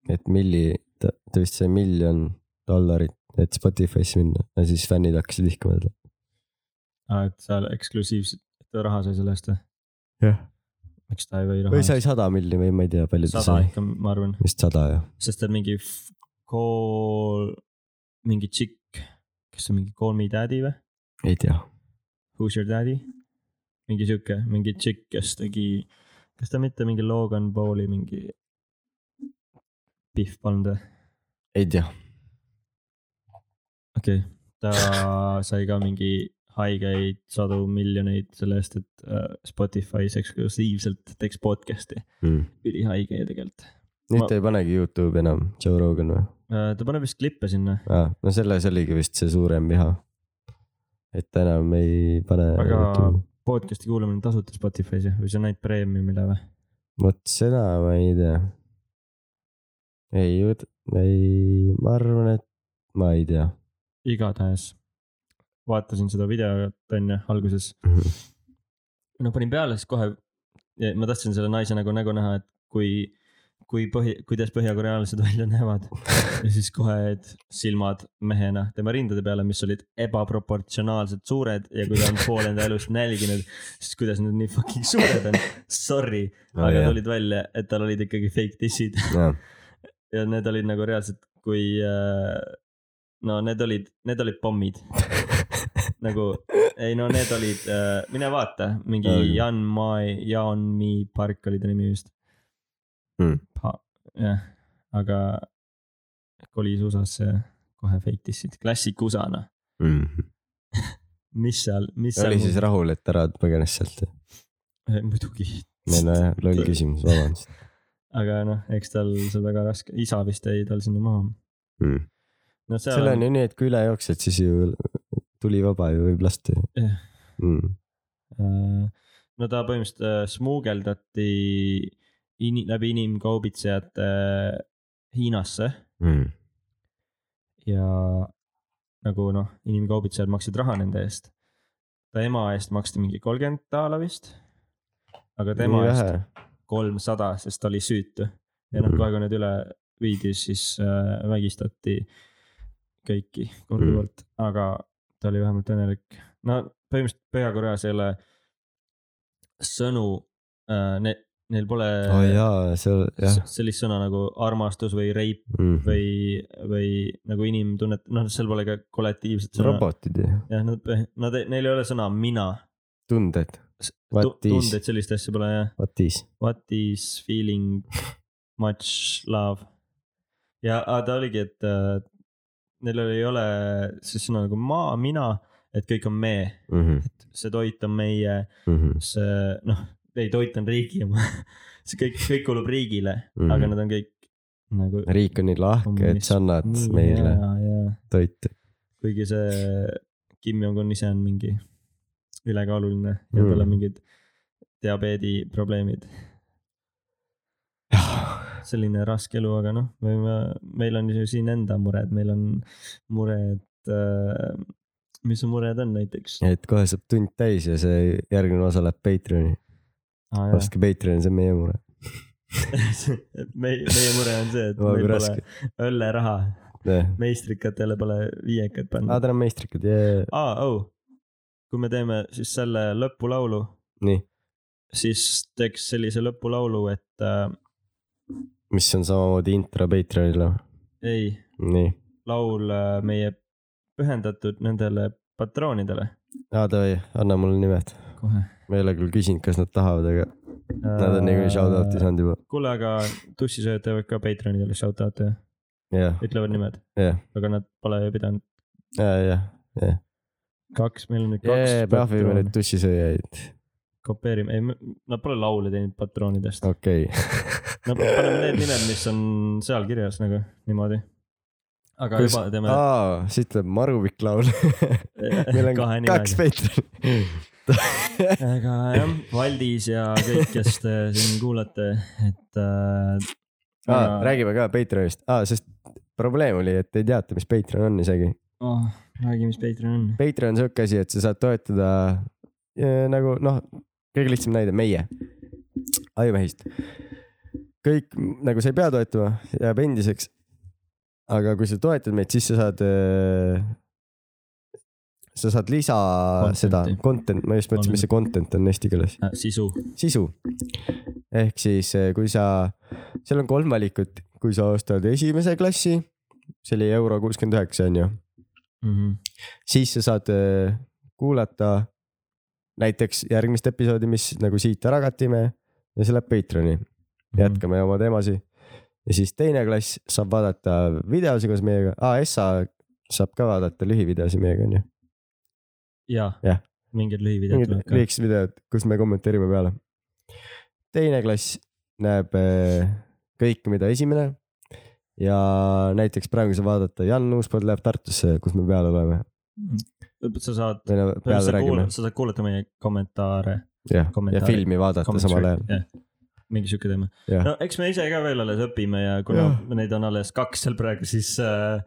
S2: et milli , ta ta vist sai miljon dollarit , et Spotify'sse minna ja siis fännid hakkasid vihkama teda .
S1: et seal eksklusiivselt , ta raha sai selle eest või ?
S2: jah .
S1: miks ta ei või raha
S2: või ? sai sada milli või ma ei tea , palju ta
S1: sada
S2: sai .
S1: ikka , ma arvan ,
S2: vist sada jah .
S1: sest et mingi f- kool , mingi tšikk , kes on mingi Call Me Daddy või ?
S2: ei tea .
S1: Who's your daddy ? mingi sihuke , mingi tšikk , kes tegi , kas ta mitte mingi Logan Pauli mingi pihv pannud või ?
S2: ei tea .
S1: okei okay. , ta sai ka mingi haigeid sadu miljoneid selle eest , et äh, Spotify's eksklusiivselt teeks podcast'i ,
S2: mm. .
S1: ülihaige ju tegelikult .
S2: nüüd
S1: Ma-
S2: ta ei panegi Youtube'i enam , Joe Rogan või ?
S1: Äh, ta paneb vist klippe sinna ,
S2: aa , no selles oligi vist see suurem viha . et ta enam ei pane
S1: Aga-
S2: Youtube'i .
S1: podcast'i kuulamine on tasuta Spotify's jah , või see on ainult premiumile või ?
S2: vot seda ma ei tea . ei , ei , ma arvan , et ma ei tea .
S1: igatahes vaatasin seda videot onju alguses . no panin peale , siis kohe ja ma tahtsin selle naise nagu nägu näha , et kui , kui põhi , kuidas põhjakorealased välja näevad . ja siis kohe et silmad mehena tema rindade peale , mis olid ebaproportsionaalselt suured ja kui ta on pool enda elust nälginud , siis kuidas nad nii fucking suured on . Sorry , aga tulid välja , et tal olid ikkagi fake dissid
S2: jah ,
S1: ja need olid nagu reaalselt , kui äh, no need olid , need olid pommid . nagu ei no need olid äh, , mine vaata , mingi
S2: Okei.
S1: Jan Mai , Jan Mi park oli ta nimi vist
S2: Hmm. .
S1: jah , aga kolis USA-sse kohe fake dissid , klassik USA-na ,
S2: mm. .
S1: mis seal , mis seal
S2: oli siis rahul , et ära põgenes sealt ?
S1: Eh, muidugi ,
S2: ei nojah , loll küsimus , vabandust
S1: aga noh , eks tal see väga raske , isa vist jäi tal sinna maha .
S2: mm. .
S1: Hmm. no seal
S2: seal on ju nii , et kui üle jooksed , siis ju tuli vaba ju võib lasta ju
S1: Jah.
S2: mm. .
S1: Äh, no ta põhimõtteliselt äh, smuugeldati in, läbi inimkaubitsejate äh, Hiinasse
S2: Mm.
S1: ja nagu noh , inimkaubitsejad maksid raha nende eest . ta ema eest maksti mingi kolmkümmend daala vist , aga tema äh,
S2: nii
S1: eest
S2: vähe ,
S1: kolmsada , sest ta oli süütu . ja noh ,
S2: Mhm.
S1: kohe kui need üle viidi , siis äh, vägistati kõiki korduvalt ,
S2: Mhm.
S1: aga ta oli vähemalt õnnelik . no põhimõtteliselt Põhja-Koreas ei ole sõnu äh, , ne, neil pole
S2: oo jaa , seal Oh, jah
S1: s- sellist sõna nagu armastus või reip
S2: mm. .
S1: või , või nagu inimtunnet , noh , seal pole ka kollektiivset sõna .
S2: robotid ju ,
S1: jah , nad , nad , neil ei ole sõna mina .
S2: tunded , What is?
S1: tundeid , sellist asja pole jah .
S2: what is
S1: what is feeling much love . ja aga ta oligi , et äh, neil oli- ei ole siis sõna nagu ma , mina , et kõik on me ,
S2: mm ? -hmm.
S1: see toit on meie ,
S2: Mm -hmm.
S1: see noh , ei toit on riigi oma , see kõik , kõik kuulub riigile mm , -hmm.
S2: Mhm.
S1: aga nad on kõik nagu .
S2: riik on nii lahke , et sa annad meile
S1: ja , ja
S2: toitu .
S1: kuigi see Kim Jong-un ise on mingi ülekaaluline ja tal on
S2: Mm.
S1: mingid diabeediprobleemid . selline raske elu , aga noh , me võime , meil on ju siin enda mured , meil on mured äh, , mis su mured on näiteks ?
S2: et kohe saab tund täis ja see järgmine osa läheb Patreoni ,
S1: Ah,
S2: ostke Patreon , see on meie mure .
S1: meie , meie mure on see , et
S2: väga
S1: meil pole
S2: raske.
S1: õlleraha ,
S2: jah ,
S1: meistrikatele pole viiekat panna
S2: aa ,
S1: ah, .
S2: täna on meistrikud , jee ,
S1: aa , au , kui me teeme siis selle lõpulaulu ,
S2: nii ,
S1: siis teeks sellise lõpulaulu , et äh,
S2: mis on samamoodi intro Patreonile ,
S1: ei ,
S2: nii ,
S1: laul äh, meie pühendatud nendele patroonidele
S2: aa davai , anna mulle nimed ,
S1: kohe .
S2: ma ei ole küll küsinud , kas nad tahavad , aga nad on niikuinii shout-out'i saanud juba ,
S1: kuule , aga tussisööjad teevad ka Patreonidele shout-out'e ,
S2: jah ,
S1: ütlevad nimed ,
S2: jah ,
S1: aga nad pole ju pidanud .
S2: jah , jah ,
S1: kaks , meil on nüüd kaks
S2: jee , prahvime nüüd . tussisööjaid ,
S1: kopeerime , ei , nad pole laule teinud patroonidest .
S2: okei okay. ,
S1: no paneme need nimed , mis on seal kirjas nagu niimoodi . aga
S2: Kus-
S1: juba teeme
S2: aa , siit tuleb Maruvik laul , meil on
S1: kahe
S2: kaks
S1: nimega .
S2: Patreoni .
S1: aga jah , Valdis ja kõik , kes te siin kuulate , et äh, .
S2: aa , räägime ka Patreonist , aa , sest probleem oli , et ei teata , mis Patreon on isegi .
S1: oh, . räägi , mis Patreon on .
S2: Patreon on siuke asi , et sa saad toetada äh, nagu noh , kõige lihtsam näide , meie , ajumehist . kõik nagu sa ei pea toetama , jääb endiseks . aga kui sa toetad meid , siis sa saad , sa saad lisa
S1: Contenti.
S2: Contenti. seda content , ma just mõtlesin , mis see content on eesti keeles .
S1: sisu .
S2: sisu . ehk siis , kui sa , seal on kolm valikut , kui sa ostad esimese klassi , see oli euro kuuskümmend üheksa , on ju ,
S1: Mm -hmm.
S2: siis sa saad äh, kuulata näiteks järgmist episoodi , mis nagu siit ära katime ja see läheb Patreoni ,
S1: Mhm.
S2: jätkame oma teemasid . ja siis teine klass saab vaadata videosi koos meiega ah, , Essa saab ka vaadata lühivideosi meiega onju .
S1: ja,
S2: Jah.
S1: mingid lühivideod
S2: mingid
S1: tuleb ka .
S2: lühikesed videod , kus me kommenteerime peale . teine klass näeb eh, kõike , mida esimene . ja näiteks praegu saab vaadata , Jan Uuspõld läheb Tartusse , kus me peal oleme
S1: sa saad ,
S2: või no
S1: sa
S2: peal räägime
S1: kuulad , sa saad kuulata meie kommentaare .
S2: jah , ja
S1: kommentaari-
S2: filmi vaadata samal ajal .
S1: mingi sihuke teema .
S2: Jah.
S1: no eks me ise ka veel alles õpime ja kuna
S2: Jah.
S1: neid on alles kaks seal praegu , siis äh, ,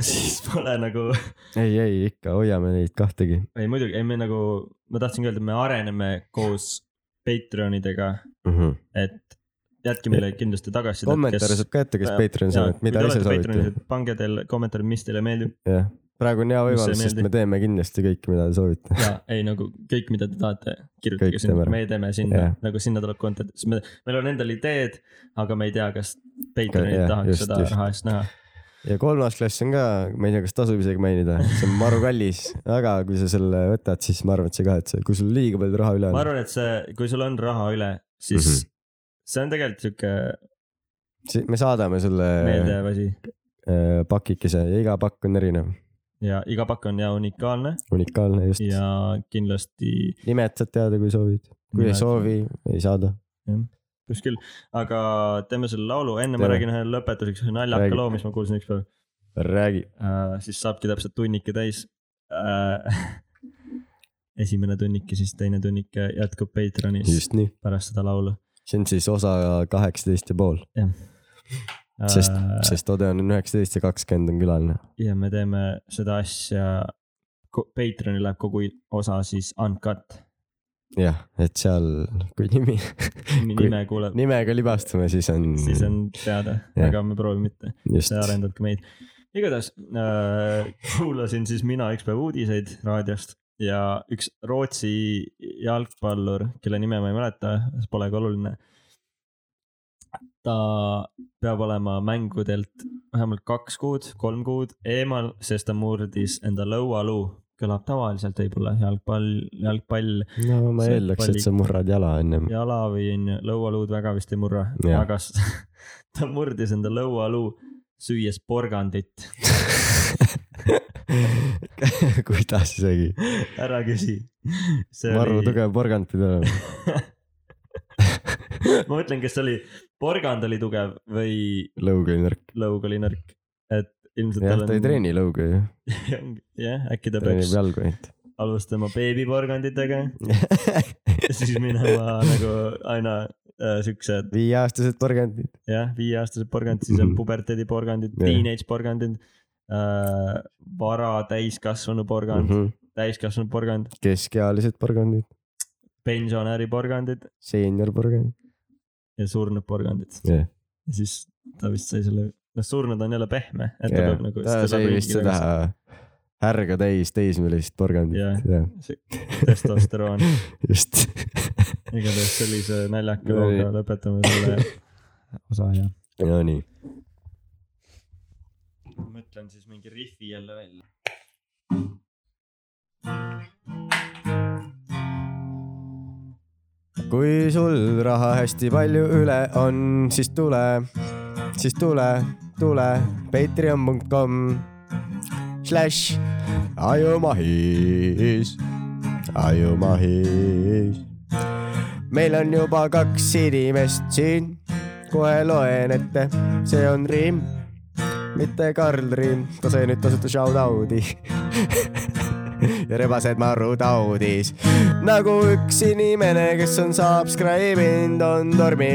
S1: siis pole nagu ,
S2: ei , ei ikka hoiame neid kahtegi .
S1: ei muidugi , ei me nagu , ma tahtsingi öelda , me areneme koos Patreonidega ,
S2: Mhm.
S1: et jätke meile kindlasti tagasisidet .
S2: kommentaare saab ka jätta , kes
S1: Jaa,
S2: Patreonis on , et mida ise soovite .
S1: pange teil kommentaarid , mis teile meeldib
S2: jah , praegu on hea
S1: Mis ei
S2: võimalus , sest
S1: meeldi.
S2: me teeme kindlasti kõike , mida te soovite .
S1: ja ei nagu kõik , mida te tahate , kirjutage
S2: Kõik
S1: sinna
S2: teeme , ära.
S1: me teeme sinna
S2: Jah.
S1: yeah. , nagu sinna tuleb content , sest me , meil on endal ideed , aga me ei tea , kas Patreonid
S2: jah,
S1: yeah, tahaks
S2: just,
S1: just, seda
S2: just.
S1: just. raha eest näha .
S2: ja kolmas klass on ka , ma ei tea , kas tasub isegi mainida , see on maru kallis , aga kui sa selle võtad , siis ma arvan , et sa kahetsed , kui sul liiga palju raha üle
S1: ma
S2: on ,
S1: arvan , et see , kui sul on raha üle , siis mm
S2: Mhm.
S1: -hmm. see on tegelikult sihuke
S2: siis me saadame selle
S1: meeldev asi
S2: eh, pakikese ja iga pakk on erinev ,
S1: ja iga pakk on ja unikaalne
S2: unikaalne just .
S1: ja kindlasti
S2: nimed saad teada , kui soovid , kui ei
S1: Nimed.
S2: soovi , ei saada .
S1: kuskil , aga teeme selle laulu , enne ma
S2: Teeme.
S1: räägin ühe lõpetuseks ühe naljaka
S2: Räägi.
S1: loo , mis ma kuulsin ükspäev .
S2: räägi .
S1: Äh, siis saabki täpselt tunnike täis äh, . esimene tunnik ja siis teine tunnik jätkub Patreonis
S2: just nii ,
S1: pärast seda laulu
S2: see on siis osa kaheksateist ja pool .
S1: äh, .
S2: sest , sest Odeon on üheksateist ja kakskümmend on külaline .
S1: ja me teeme seda asja , Patreonil läheb kogu osa siis uncut .
S2: jah , et seal , kui nimi , Kui-
S1: nime kuuleb ,
S2: nimega libastume , siis on ,
S1: siis on teada ,
S2: Jah.
S1: aga me proovime mitte ,
S2: just
S1: sa arendad ka meid . igatahes äh, kuulasin siis mina ükspäev uudiseid raadiost ja üks Rootsi jalgpallur , kelle nime ma ei mäleta , see pole ka oluline . ta peab olema mängudelt vähemalt kaks kuud , kolm kuud eemal , sest ta murdis enda lõualuu . kõlab tavaliselt võib-olla jalgpall , jalgpall ,
S2: no ma
S1: see
S2: eeldaks ,
S1: palli-
S2: et sa murrad jala ennem .
S1: jala või on ju , lõualuud väga vist ei murra ,
S2: Jah.
S1: aga s- ta murdis enda lõualuu süües porgandit .
S2: kuidas isegi ,
S1: ära küsi . see
S2: maru
S1: oli ,
S2: tugev porgand pidi olema .
S1: ma mõtlen , kas see oli , porgand oli tugev või
S2: lõug oli nõrk .
S1: lõug oli nõrk , et ilmselt
S2: jah , ta ei . treeni lõugu ju ,
S1: jah , äkki ta peaks
S2: treenib jalgu ainult .
S1: alustama beebiporganditega , siis minema nagu aina äh, siuksed
S2: viieaastased porgandid .
S1: jah , viieaastased porgandid , siis on
S2: Mhm.
S1: puberteedi porgandid
S2: Jah.
S1: yeah. , teenage porgandid äh, , vara täiskasvanu porgand mm ,
S2: Mhm.
S1: -hmm. täiskasvanu porgand ,
S2: keskealised porgandid ,
S1: pensionäri porgandid
S2: seenior porgandid .
S1: ja surnud porgandid .
S2: Jah.
S1: ja siis ta vist sai selle , noh surnud on jälle pehme , et ta peab nagu .
S2: ta sai vist seda . härga täis teismelist porgandit
S1: Jah.
S2: jah ,
S1: testosteroon ,
S2: just .
S1: igatahes sellise naljaka
S2: No
S1: looga
S2: nii.
S1: lõpetame selle osa ja .
S2: Nonii ,
S1: mõtlen siis mingi rifi jälle välja .
S2: kui sul raha hästi palju üle on , siis tule , siis tule , tule patreon.com slaš ajumahis , ajumahis . meil on juba kaks inimest siin , kohe loen ette , see on Riim , mitte Karl Riim , ta sai nüüd tasuta shout out'i ja rebased marutaudis . nagu üks inimene , kes on subscribe inud , on Tormi ,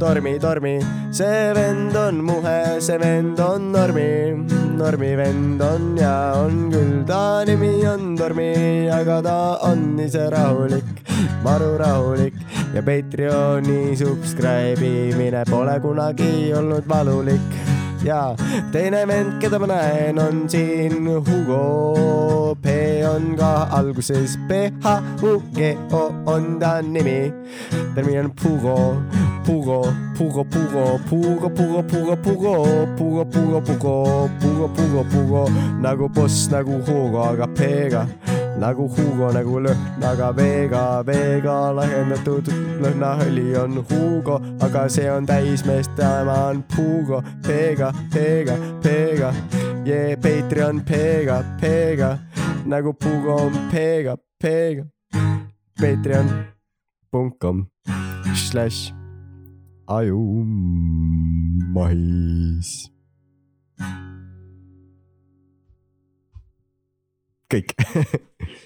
S2: Tormi , Tormi . see vend on muhe , see vend on Normi , Normi vend on ja on küll , ta nimi on Tormi , aga ta on ise rahulik , maru rahulik ja Patreoni subscribe imine pole kunagi olnud valulik ja teine vend , keda ma näen , on siin Hugo . P on ka alguses P H U G O on ta nimi . ta nimi on Pugo , Pugo , Pugo , Pugo , Pugo , Pugo , Pugo , Pugo , Pugo , Pugo , Pugo , Pugo , Pugo , Pugo nagu boss , nagu Hugo , aga P-ga nagu Hugo , nagu lõhn , aga veega , veega lahendatud lõhnaõli on Hugo , aga see on täismees , tema on Pugo , P-ga , P-ga , P-ga yeah, Patreon peega , peega nagu Pugo on peega , peega . Patreon.com slash ajumais . kõik .